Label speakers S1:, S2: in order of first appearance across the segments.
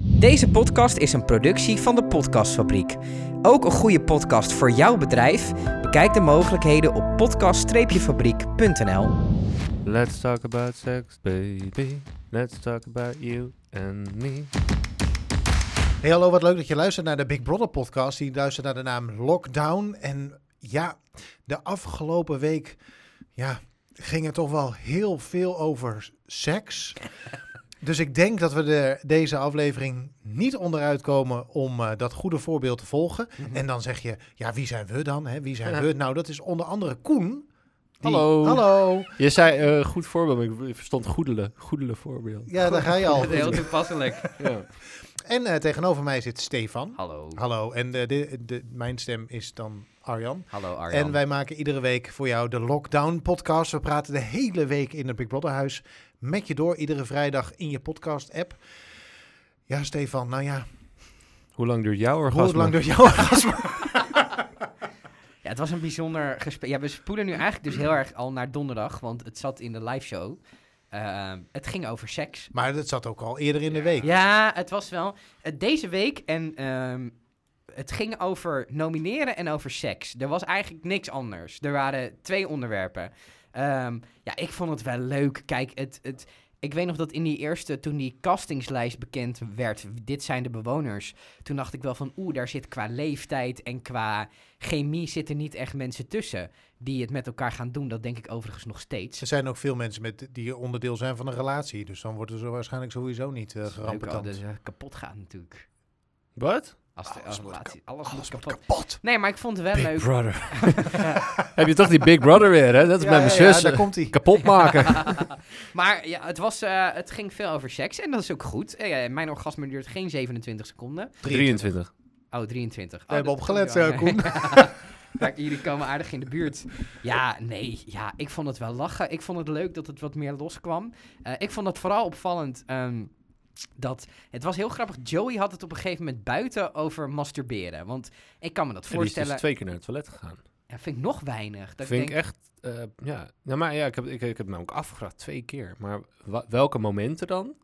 S1: Deze podcast is een productie van de Podcastfabriek. Ook een goede podcast voor jouw bedrijf? Bekijk de mogelijkheden op podcast-fabriek.nl.
S2: Let's talk about sex, baby. Let's talk about you and me.
S3: Hey, hallo, wat leuk dat je luistert naar de Big Brother podcast. Die luistert naar de naam Lockdown. En ja, de afgelopen week ja, ging het toch wel heel veel over seks. Dus ik denk dat we de, deze aflevering niet onderuit komen om eh, dat goede voorbeeld te volgen. En dan zeg je, ja, wie zijn we dan? Hè? Wie zijn
S2: Mhm. Ja.
S3: we? Nou, dat is onder andere Koen. die-
S2: Hallo.
S3: Hallo.
S2: Je zei eh, goed voorbeeld, maar ik verstond goedele, goedele voorbeeld.
S3: Ja, daar ga je al.
S4: Heel toepasselijk.
S2: Ja.
S3: En eh, tegenover mij zit Stefan.
S4: Hallo.
S3: Hallo. En eh, de, de, mijn stem is dan Arjan.
S4: Hallo Arjan.
S3: En wij maken iedere week voor jou de Lockdown Podcast. We praten de hele week in het Big Brother huis met je door. Iedere vrijdag in je podcast app. Ja, Stefan, nou ja,
S2: Hoe lang duurt jouw orgasme?
S3: hoe lang duurt jouw orgasme?
S4: Ja, het was een bijzonder gesprek. Ja, we spoelen nu eigenlijk dus heel erg al naar donderdag, want het zat in de live show. Ehm, het ging over seks.
S3: Maar dat zat ook al eerder in de week.
S4: Ja, het was wel eh, deze week en ehm, het ging over nomineren en over seks. Er was eigenlijk niks anders. Er waren twee onderwerpen. Ehm, ja, ik vond het wel leuk. Kijk, het, het, ik weet nog dat in die eerste, toen die castingslijst bekend werd, dit zijn de bewoners. Toen dacht ik wel van, oeh, daar zit qua leeftijd en qua chemie zitten niet echt mensen tussen die het met elkaar gaan doen. Dat denk ik overigens nog steeds.
S3: Er zijn ook veel mensen met, die onderdeel zijn van een relatie. Dus dan worden ze waarschijnlijk sowieso niet eh
S4: Leuk oh, dus- al,
S3: gerampetand.
S4: dat ze kapot gaat natuurlijk.
S2: Wat?
S4: Als de,
S3: Alles
S4: als
S3: moet
S4: relatie, alles,
S3: Alles
S4: moet
S3: wordt
S4: kapot.
S3: kapot.
S4: Nee, maar ik vond het wel leuk.
S2: Brother. Heb je toch die Big Brother weer, hè? Dat is
S3: Ja,
S2: bij mijn
S3: ja, ja,
S2: zus. eh,
S3: daar komt hij.
S2: kapot maken.
S4: maar ja, het, was, eh, het ging veel over seks en dat is ook goed. Eh, eh, mijn orgasme duurt geen 27 seconden.
S2: 23.
S4: Oh, 23.
S3: We hebben opgelet, eh, Koen.
S4: Koen. Jullie komen aardig in de buurt. Ja, nee. Ja, ik vond het wel lachen. Ik vond het leuk dat het wat meer loskwam. Eh, ik vond het vooral opvallend ehm, dat... Het was heel grappig. Joey had het op een gegeven moment buiten over masturberen. Want ik kan me dat
S2: En die is
S4: voorstellen.
S2: dus twee keer naar het toilet gegaan.
S4: Ja, vind ik nog weinig. Dat
S2: Vind ik
S4: ik denk,
S2: echt... eh, ja, nou, maar ja, ik heb, ik, ik heb me ook afgevraagd twee keer. Maar wa- welke momenten dan?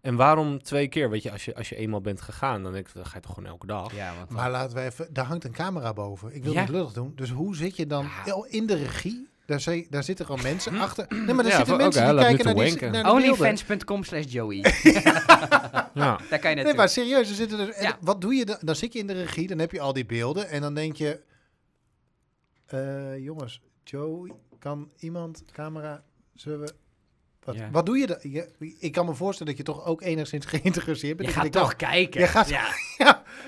S2: En waarom twee keer? Weet je, als je, als je eenmaal bent gegaan, dan, denk ik, dan ga je toch gewoon elke dag.
S4: Ja, want
S3: Maar laten we even, daar hangt een camera boven. Ik wil
S4: Ja.
S3: niet lullig doen. Dus hoe zit je dan
S4: Ja. Hm?
S3: Oh, in de regie? Daar, zi- daar zitten gewoon mensen achter. Nee, maar daar
S2: Ja,
S3: zitten
S2: oké,
S3: mensen
S2: hij
S3: die
S2: laat nu
S3: kijken naar die,
S2: te wanken.
S3: naar die beelden.
S4: Onlyfans.com slash Joey.
S2: ja.
S4: Daar kan je naartoe.
S3: Nee, maar serieus, er zitten er, en
S4: Ja.
S3: wat doe je dan? Dan zit je in de regie, dan heb je al die beelden en dan denk je... eh, jongens, Joe, kan iemand, camera, zullen we... Wat,
S4: Ja.
S3: wat doe je dan? Je- ik kan me voorstellen dat je toch ook enigszins geïnteresseerd
S4: je
S3: bent.
S4: gaat
S3: Dat denk
S4: toch
S3: ik
S4: kijken.
S3: Je gaat-
S4: Ja.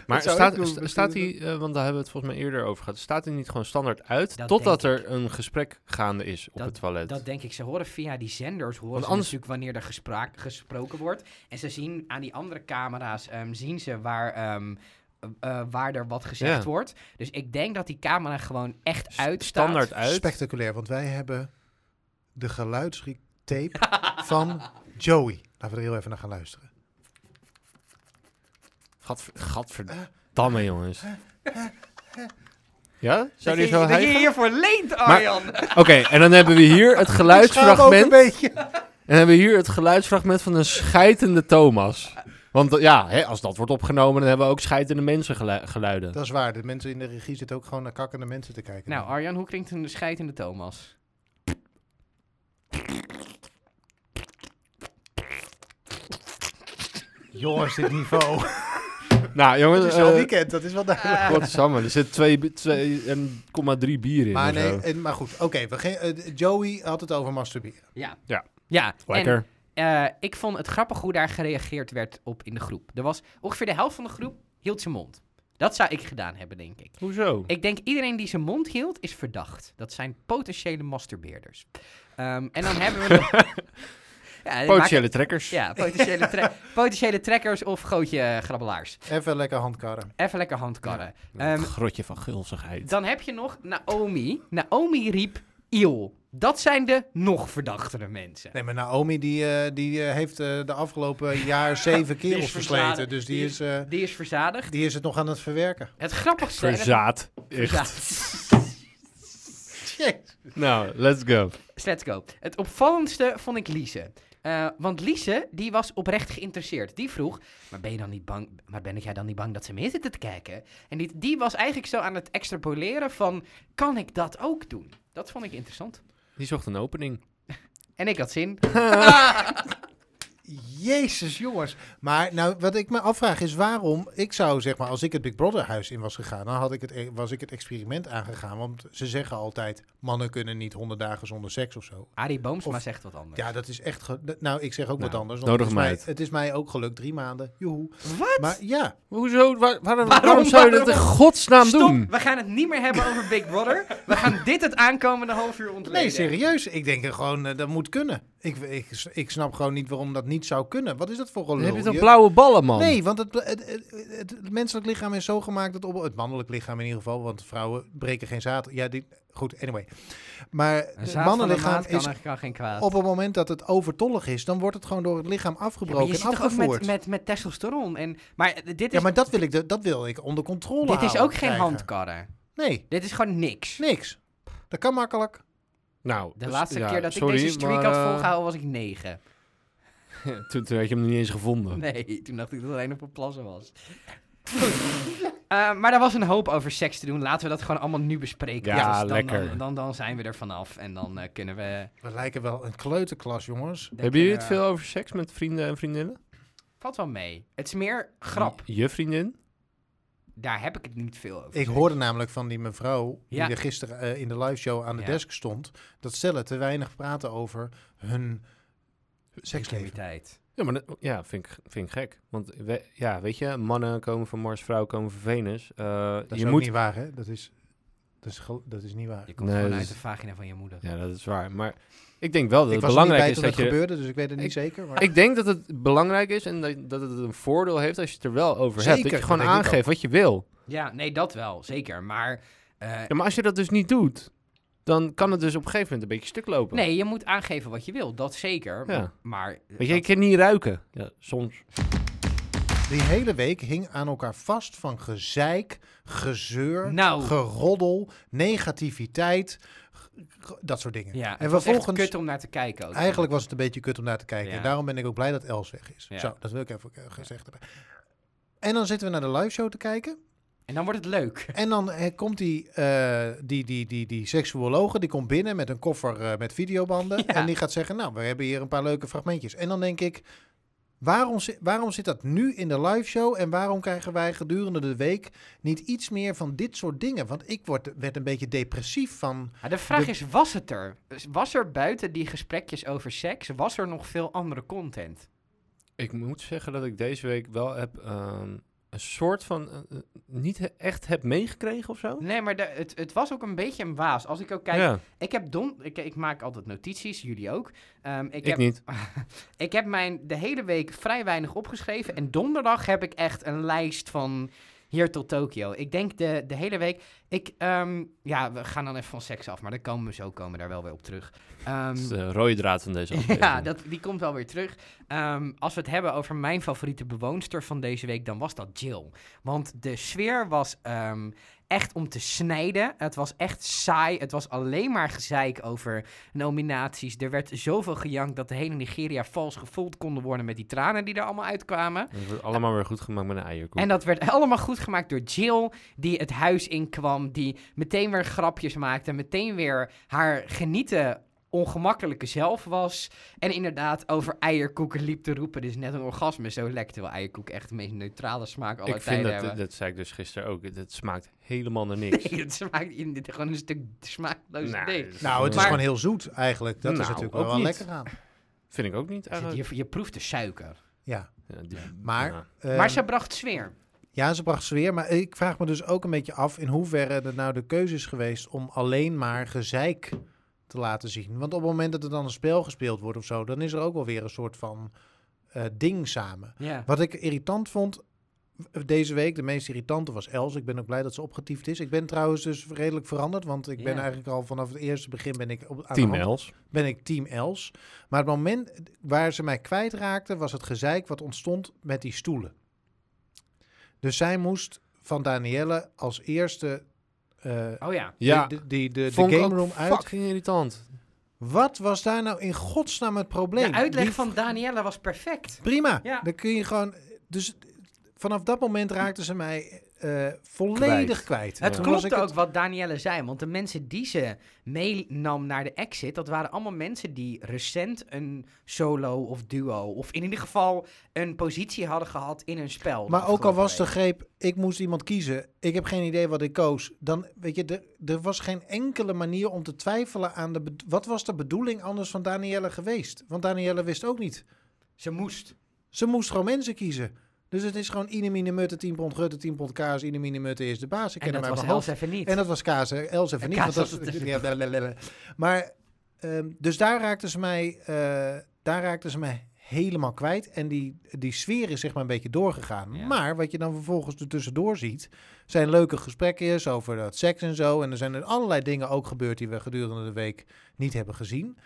S2: Maar
S3: Dat zou
S2: staat,
S3: ik doen,
S2: sta-
S3: misschien
S2: staat
S3: is
S2: die, eh, want daar hebben we het volgens mij eerder over gehad, staat die niet gewoon standaard uit
S4: Dat
S2: totdat
S4: denk
S2: er een gesprek gaande is op
S4: Dat-
S2: het toilet?
S4: Dat denk ik. Ze horen via die zenders horen
S2: Want
S4: ze
S2: anders-
S4: natuurlijk wanneer er gespraak- gesproken wordt. En ze zien aan die andere camera's ehm, zien ze waar, ehm, eh, eh, waar er wat gezegd
S2: Ja.
S4: wordt. Dus ik denk dat die camera gewoon echt
S2: S-
S4: uit staat.
S2: standaard uit.
S3: Spectaculair, want wij hebben de geluidstape van Joey. Laten we er heel even naar gaan luisteren.
S2: Gadver, gadverdamme, jongens. Ja?
S4: dat
S2: Zou die
S4: je,
S2: zo
S4: dat je
S2: hijgen?
S4: hiervoor leent, Arjan.
S2: Oké, en dan hebben we hier het
S3: Schaam ook een
S2: geluidsfragment.
S3: beetje.
S2: En hebben we hier het geluidsfragment van een scheitende Thomas. Want dat- ja, hè, als dat wordt opgenomen, dan hebben we ook scheitende mensen gelu- geluiden.
S3: Dat is waar. De mensen in de regie zitten ook gewoon naar kakkende mensen te kijken.
S4: nou, Arjan, hoe klinkt een scheidende Thomas?
S3: jongens, dit niveau.
S2: Nou, jongens,
S3: Het is al
S2: eh,
S3: weekend, dat is wel duidelijk.
S2: godsamme, er zit 2,3 bier in.
S3: maar,
S2: of
S3: nee,
S2: zo.
S3: eh, maar goed, oké. we ge- eh, Joey had het over masturberen.
S4: Ja.
S2: Ja.
S4: ja. en
S2: Lekker.
S4: Eh, ik vond het grappig hoe daar gereageerd werd op in de groep. Er was ongeveer de helft van de groep hield zijn mond. Dat zou ik gedaan hebben, denk ik.
S2: Hoezo?
S4: Ik denk iedereen die zijn mond hield is verdacht. Dat zijn potentiële masturbeerders. Ehm, en dan hebben we nog... Ja, die
S2: Potentiële trekkers.
S4: maken- Ja, potentiële, tre- potentiële trekkers of gootje eh, grabbelaars.
S3: Even lekker handkarren.
S4: Even lekker handkarren.
S2: Het
S4: Ehm,
S2: grotje van gulzigheid.
S4: dan heb je nog Naomi. Naomi riep Iel. Dat zijn de nog verdachtere mensen.
S3: Nee, maar Naomi die, eh, die eh, heeft eh, de afgelopen jaar zeven kerels
S4: verslagen.
S3: versleten. Dus die
S4: Die
S3: is, eh,
S4: Die is verzadigd.
S3: die is het nog aan het verwerken.
S4: Het grappigste... en het-
S2: Verzaad. Echt. Nou, let's go. Nou,
S4: Let's go. Het opvallendste vond ik Lise. Eh, want Lise, die was oprecht geïnteresseerd. Die vroeg, maar ben, je dan niet bang, maar ben jij dan niet bang dat ze mee zitten te kijken? En die, die was eigenlijk zo aan het extrapoleren van, kan ik dat ook doen? Dat vond ik interessant.
S2: Die zocht een opening.
S4: En ik had zin.
S3: Jezus, jongens. Maar nou, wat ik me afvraag is waarom... Ik zou zeg maar, als ik het Big Brother huis in was gegaan... dan had ik het, e- was ik het experiment aangegaan. Want ze zeggen altijd... mannen kunnen niet honderd dagen zonder seks of zo.
S4: Arie Boomsma
S3: Of-
S4: zegt wat anders.
S3: Ja, dat is echt... ge- d- Nou, ik zeg ook
S2: Nou,
S3: wat anders.
S2: nodig
S3: het, is
S2: hem
S3: mij,
S2: uit.
S3: het is mij ook gelukt. Drie maanden. Joehoe.
S4: Wat?
S3: Maar ja,
S2: Hoezo? Waar- waarom, waarom,
S4: Waarom-
S2: zou je dat in
S4: waarom?
S2: godsnaam
S4: Stop,
S2: doen?
S4: we gaan het niet meer hebben over Big Brother. We gaan dit het aankomende half uur ontleden.
S3: nee, serieus. Ik denk er gewoon, eh, dat moet kunnen. Ik, ik, ik snap gewoon niet waarom dat niet zou kunnen. Wat is dat voor
S2: Dan
S3: een
S2: heb je toch blauwe ballen, man?
S3: Nee, want het, het, het, het menselijk lichaam is zo gemaakt dat op het mannelijk lichaam in ieder geval, want vrouwen breken geen zaad. Ja, die, goed, anyway. Maar het mannelijk lichaam
S4: kan,
S3: is
S4: er- kan geen kwaad.
S3: op het moment dat het overtollig is, dan wordt het gewoon door het lichaam
S4: Ja, maar
S3: afgebroken
S4: je zit
S3: en
S4: toch ook
S3: afgevoerd.
S4: met, met, met testosteron. En, maar eh, dit
S3: ja,
S4: is,
S3: maar dat wil ik, de- dat wil ik onder controle.
S4: dit is
S3: houden,
S4: ook geen
S3: krijgen.
S4: handkarren.
S3: Nee,
S4: Dit is gewoon niks.
S3: niks. Dat kan makkelijk.
S2: Nou,
S4: De
S2: dus-
S4: laatste
S2: ja,
S4: keer dat
S2: sorry,
S4: ik deze streak
S2: maar,
S4: had
S2: eh,
S4: volgehouden was ik negen.
S2: toen, toen had je hem nog niet eens gevonden.
S4: Nee, toen dacht ik dat het alleen op een plassen was. Eh, maar er was een hoop over seks te doen. Laten we dat gewoon allemaal nu bespreken.
S2: Ja,
S4: want dan,
S2: lekker.
S4: Dan, dan, dan zijn we er vanaf. En dan eh, kunnen we...
S3: We lijken wel een kleuterklas, jongens.
S4: dan
S2: Hebben jullie
S4: kunnen
S2: het
S4: we-
S2: veel over seks met vrienden en vriendinnen?
S4: Valt wel mee. Het is meer grap.
S2: Je vriendin?
S4: Daar heb ik het niet veel over.
S3: Ik hoorde namelijk van die mevrouw die
S4: Ja.
S3: er gisteren eh, in de liveshow aan de
S4: Ja.
S3: desk stond, dat stellen te weinig praten over hun seksleven.
S4: Intimiteit.
S2: Ja, maar dat, ja, vind, ik, vind ik gek. Want we- ja, weet je, mannen komen van Mars, vrouwen komen van Venus. Eh,
S3: Dat is
S2: je
S3: ook
S2: moet.
S3: niet waar, hè? Dat is, dat is, gel- dat is niet waar.
S4: Je komt
S2: Nee, dus-
S4: gewoon
S2: dat
S4: uit
S2: is-
S4: de vagina van je moeder.
S2: Ja, dat is waar. Maar ik denk wel dat
S3: ik
S2: het
S3: was er niet
S2: belangrijk
S3: bij
S2: is
S3: toen
S2: dat
S3: dat
S2: je.
S3: gebeurde, dus ik weet het niet
S2: Ik-
S3: zeker. Maar
S2: Ik denk dat het belangrijk is en dat, dat het een voordeel heeft als je het er wel over hebt. Dat
S3: Zeker,
S2: je gewoon
S3: dat denk ik
S2: aangeeft wat je wil.
S4: Ja, nee, dat wel. Zeker. Maar... eh,
S2: Ja, maar als je dat dus niet doet, dan kan het dus op een gegeven moment een beetje stuk lopen.
S4: Nee, je moet aangeven wat je wil, dat zeker.
S2: Ja.
S4: Maar
S2: Weet je, ik kan niet ruiken. Ja, soms.
S3: die hele week hing aan elkaar vast van gezeik, gezeur,
S4: Nou.
S3: geroddel, negativiteit, g- g- dat soort dingen.
S4: ja,
S3: en
S4: en was echt
S3: vervolgens-
S4: kut om naar te kijken ook.
S3: Eigenlijk was het een beetje kut om naar te kijken.
S4: Ja.
S3: En daarom ben ik ook blij dat Els weg is.
S4: Ja.
S3: Zo, dat wil ik even eh, gezegd hebben. En dan zitten we naar de liveshow te kijken.
S4: En dan wordt het leuk.
S3: En dan eh, komt die, eh, die, die, die, die seksuologe, die komt binnen met een koffer eh, met videobanden.
S4: Ja.
S3: En die gaat zeggen, nou, we hebben hier een paar leuke fragmentjes. En dan denk ik, waarom, zi- waarom zit dat nu in de liveshow? En waarom krijgen wij gedurende de week niet iets meer van dit soort dingen? Want ik word, werd een beetje depressief van...
S4: Maar de vraag
S3: De-
S4: is, was het er? Was er buiten die gesprekjes over seks, was er nog veel andere content?
S2: Ik moet zeggen dat ik deze week wel heb ehm, een soort van. eh, eh, niet he- echt heb meegekregen of
S3: Oh.
S2: zo.
S4: Nee, maar de- het, het was ook een beetje een waas. Als ik ook kijk,
S2: ja,
S4: ik heb don... Ik, ik maak altijd notities, jullie ook. Ehm, ik,
S2: ik,
S4: heb,
S2: niet.
S4: ik heb mijn de hele week vrij weinig opgeschreven. En donderdag heb ik echt een lijst van hier tot Tokio. Ik denk de, de hele week... Ik, ehm, ja, we gaan dan even van seks af, maar dan komen we zo komen we daar wel weer op terug. Ehm,
S2: Dat is de rode draad van deze aflevering.
S4: Ja, dat, die komt wel weer terug. Ehm, als we het hebben over mijn favoriete bewoonster van deze week, dan was dat Jill. Want de sfeer was ehm, echt om te snijden. Het was echt saai. Het was alleen maar gezeik over nominaties. Er werd zoveel gejankt dat de hele Nigeria vals gevoeld konden worden met die tranen die er allemaal uitkwamen.
S2: Het wordt allemaal weer goed gemaakt met een eierkoek.
S4: En dat werd allemaal goed gemaakt door Jill, die het huis inkwam, die meteen weer grapjes maakte, meteen weer haar genieten ongemakkelijke zelf was. En inderdaad over eierkoeken liep te roepen. Dit is net een orgasme, zo lek. Terwijl eierkoek echt de meest neutrale smaak aller
S2: ik vind
S4: tijden
S2: dat,
S4: hebben.
S2: dat zei ik dus gisteren ook, het- het smaakt helemaal naar niks.
S4: Nee, het smaakt in dit gewoon een stuk smaakloos
S2: Nou,
S4: ding.
S2: dat
S3: Nou, het is
S4: Maar-
S3: gewoon heel zoet eigenlijk. Dat
S2: Nou,
S3: is natuurlijk
S2: ook
S3: wel, wel
S2: niet.
S3: lekker aan.
S2: Vind ik ook niet
S4: Er zit-
S2: eigenlijk.
S4: Je, je proeft de suiker.
S3: Ja,
S2: Ja, die-
S3: maar...
S2: ja.
S3: eh,
S4: maar ze bracht sfeer.
S3: Ja, ze bracht sfeer, maar ik vraag me dus ook een beetje af in hoeverre er nou de keuze is geweest om alleen maar gezeik te laten zien. Want op het moment dat er dan een spel gespeeld wordt of zo, dan is er ook wel weer een soort van eh, ding samen.
S4: Ja.
S3: Wat ik irritant vond eh, deze week, de meest irritante was Els. Ik ben ook blij dat ze opgetiefd is. Ik ben trouwens dus redelijk veranderd, want ik ben
S4: Ja. eigenlijk
S3: eigenlijk al vanaf het eerste begin ben ik op, aan
S2: Team Els.
S3: ben ik team Els. Maar het moment waar ze mij kwijtraakte was het gezeik wat ontstond met die stoelen. Dus zij moest van Danielle als eerste eh,
S4: Oh ja.
S2: Ja,
S3: de, de, de, de
S2: vond ik
S3: game
S2: ook
S3: room uit.
S2: fucking irritant.
S3: Wat was daar nou in godsnaam het probleem?
S4: De uitleg
S3: Die-
S4: van Daniela was perfect.
S3: Prima.
S4: Ja.
S3: Dan kun je gewoon. Dus vanaf dat moment raakten ze mij eh, volledig kwijt.
S4: Het
S3: Toen was
S4: klopt
S3: ik
S4: ook wat Danielle zei, want de mensen die ze meenam naar de exit, dat waren allemaal mensen die recent een solo of duo, of in ieder geval een positie hadden gehad in een spel. de
S3: Maar ook al
S4: afgelopen
S3: was de
S4: week.
S3: greep, ik moest iemand kiezen. Ik heb geen idee wat ik koos. Dan, weet je, er- er was geen enkele manier om te twijfelen aan de... bed- Wat was de bedoeling anders van Danielle geweest? Want Danielle wist ook niet.
S4: Ze moest.
S3: Ze moest gewoon mensen kiezen. Dus het is gewoon inemine mutte, 10 pond gutte, 10 pond kaas, inemine mutte is de baas. Ik
S4: En
S3: ken
S4: dat
S3: hem uit
S4: was
S3: mijn hoofd.
S4: Els even niet.
S3: En dat was kaas, hè? Els even
S4: En
S3: niet.
S4: kaas
S3: Want dat
S4: was het
S3: ja, blablabla. Maar, ehm, dus daar raakten ze mij, eh, daar raakten ze mij helemaal kwijt. En die, die sfeer is zeg maar een beetje doorgegaan.
S4: Ja.
S3: Maar wat je dan vervolgens er tussendoor ziet, zijn leuke gesprekjes over dat seks en zo. En er zijn er allerlei dingen ook gebeurd die we gedurende de week niet hebben gezien.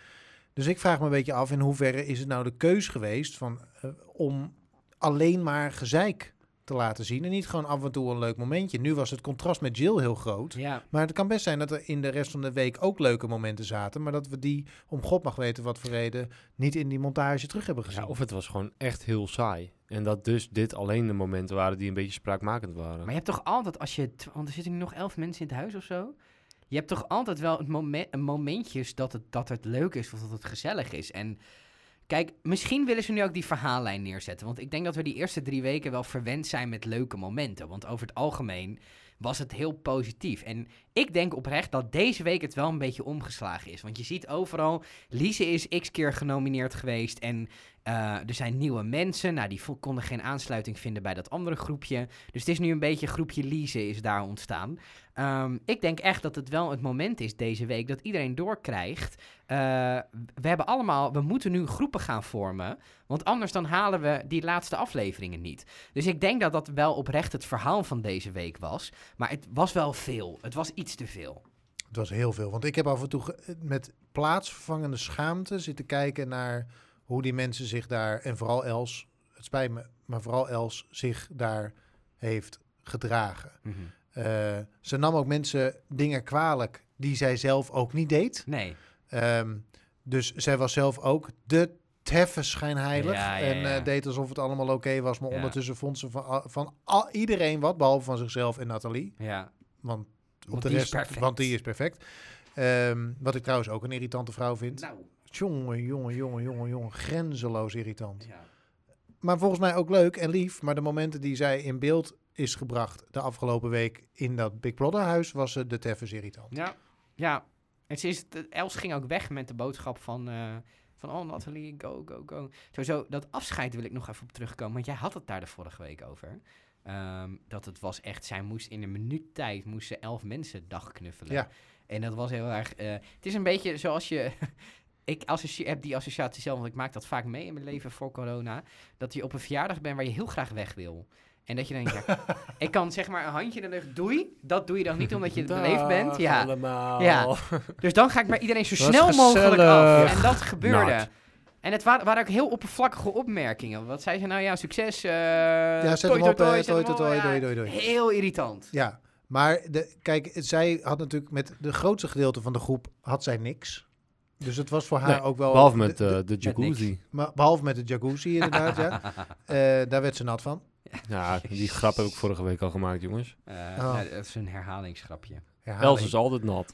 S3: Dus ik vraag me een beetje af in hoeverre is het nou de keus geweest van, eh, om alleen maar gezeik te laten zien en niet gewoon af en toe een leuk momentje. Nu was het contrast met Jill heel groot.
S4: Ja.
S3: Maar het kan best zijn dat er in de rest van de week ook leuke momenten zaten. Maar dat we die, om god mag weten wat voor reden, niet in die montage terug hebben gezien.
S2: Ja, of het was gewoon echt heel saai. En dat dus dit alleen de momenten waren die een beetje spraakmakend waren.
S4: Maar je hebt toch altijd, als je, tw- want er zitten nu nog elf mensen in het huis of zo. Je hebt toch altijd wel het momen- een momentjes dat het, dat het leuk is of dat het gezellig is. En kijk, misschien willen ze nu ook die verhaallijn neerzetten. Want ik denk dat we die eerste drie weken wel verwend zijn met leuke momenten. Want over het algemeen was het heel positief. En ik denk oprecht dat deze week het wel een beetje omgeslagen is. Want je ziet overal, Lise is x keer genomineerd geweest. En eh, er zijn nieuwe mensen. Nou, die vo- konden geen aansluiting vinden bij dat andere groepje. Dus het is nu een beetje groepje Lize is daar ontstaan. Ehm, ik denk echt dat het wel het moment is deze week dat iedereen doorkrijgt. eh, we hebben allemaal, we moeten nu groepen gaan vormen. Want anders dan halen we die laatste afleveringen niet. Dus ik denk dat dat wel oprecht het verhaal van deze week was. Maar het was wel veel. Het was iets te veel.
S3: Het was heel veel. Want ik heb af en toe ge- met plaatsvervangende schaamte zitten kijken naar hoe die mensen zich daar, en vooral Els, het spijt me, maar vooral Els zich daar heeft gedragen.
S4: Mhm.
S3: Eh, ze nam ook mensen dingen kwalijk die zij zelf ook niet deed.
S4: Nee.
S3: Ehm, dus zij was zelf ook de teffe schijnheilig.
S4: Ja, ja,
S3: en
S4: ja.
S3: eh, deed alsof het allemaal oké was. Maar
S4: Ja.
S3: ondertussen vond ze van, a- van al- iedereen wat, behalve van zichzelf en Nathalie.
S4: Ja.
S3: Want, op
S4: Want
S3: de
S4: die is
S3: rest,
S4: perfect.
S3: want die is perfect. Ehm, wat ik trouwens ook een irritante vrouw vind.
S4: Nou.
S3: Jongen, jongen, jongen, jongen, jongen. Grenzeloos irritant.
S4: Ja.
S3: Maar volgens mij ook leuk en lief. Maar de momenten die zij in beeld is gebracht de afgelopen week in dat Big Brother huis, was ze de teffes irritant.
S4: Ja, ja. Het is, het- Els ging ook weg met de boodschap van, eh, van oh Nathalie, go, go, go. Sowieso, dat afscheid wil ik nog even op terugkomen, want jij had het daar de vorige week over. Ehm, dat het was echt, zij moest in een minuut tijd, moest ze elf mensen dagknuffelen.
S3: Ja.
S4: En dat was heel erg, eh, het is een beetje zoals je, ik associe- heb die associatie zelf, want ik maak dat vaak mee in mijn leven voor corona, dat je op een verjaardag bent waar je heel graag weg wil. En dat je denkt, ja, ik kan zeg maar een handje in de lucht, doei. Dat doe je dan niet omdat je beleefd bent. Ja.
S2: Allemaal.
S4: Ja. Dus dan ga ik bij iedereen zo
S2: Dat is
S4: snel mogelijk af.
S2: gezellig.
S4: En dat gebeurde.
S2: Nat.
S4: En het waren, waren ook heel oppervlakkige opmerkingen. Wat zei ze nou? Ja, succes. eh ja,
S3: zet hem op, eh, toi, toi, toi, doei, doei, doei.
S4: Heel irritant.
S3: Ja, maar de, kijk, zij had natuurlijk met de grootste gedeelte van de groep had zij niks. Dus het was voor haar
S2: Nee,
S3: ook wel...
S2: Behalve met
S3: de-
S2: eh,
S3: de-
S2: de jacuzzi.
S3: maar- behalve met de jacuzzi inderdaad, ja. Eh, daar werd ze nat van.
S2: Ja, die grap heb ik vorige week al gemaakt, jongens.
S4: Eh,
S3: Oh.
S4: nou, dat is een herhalingsgrapje.
S2: Els
S3: Herhaling.
S2: is altijd nat.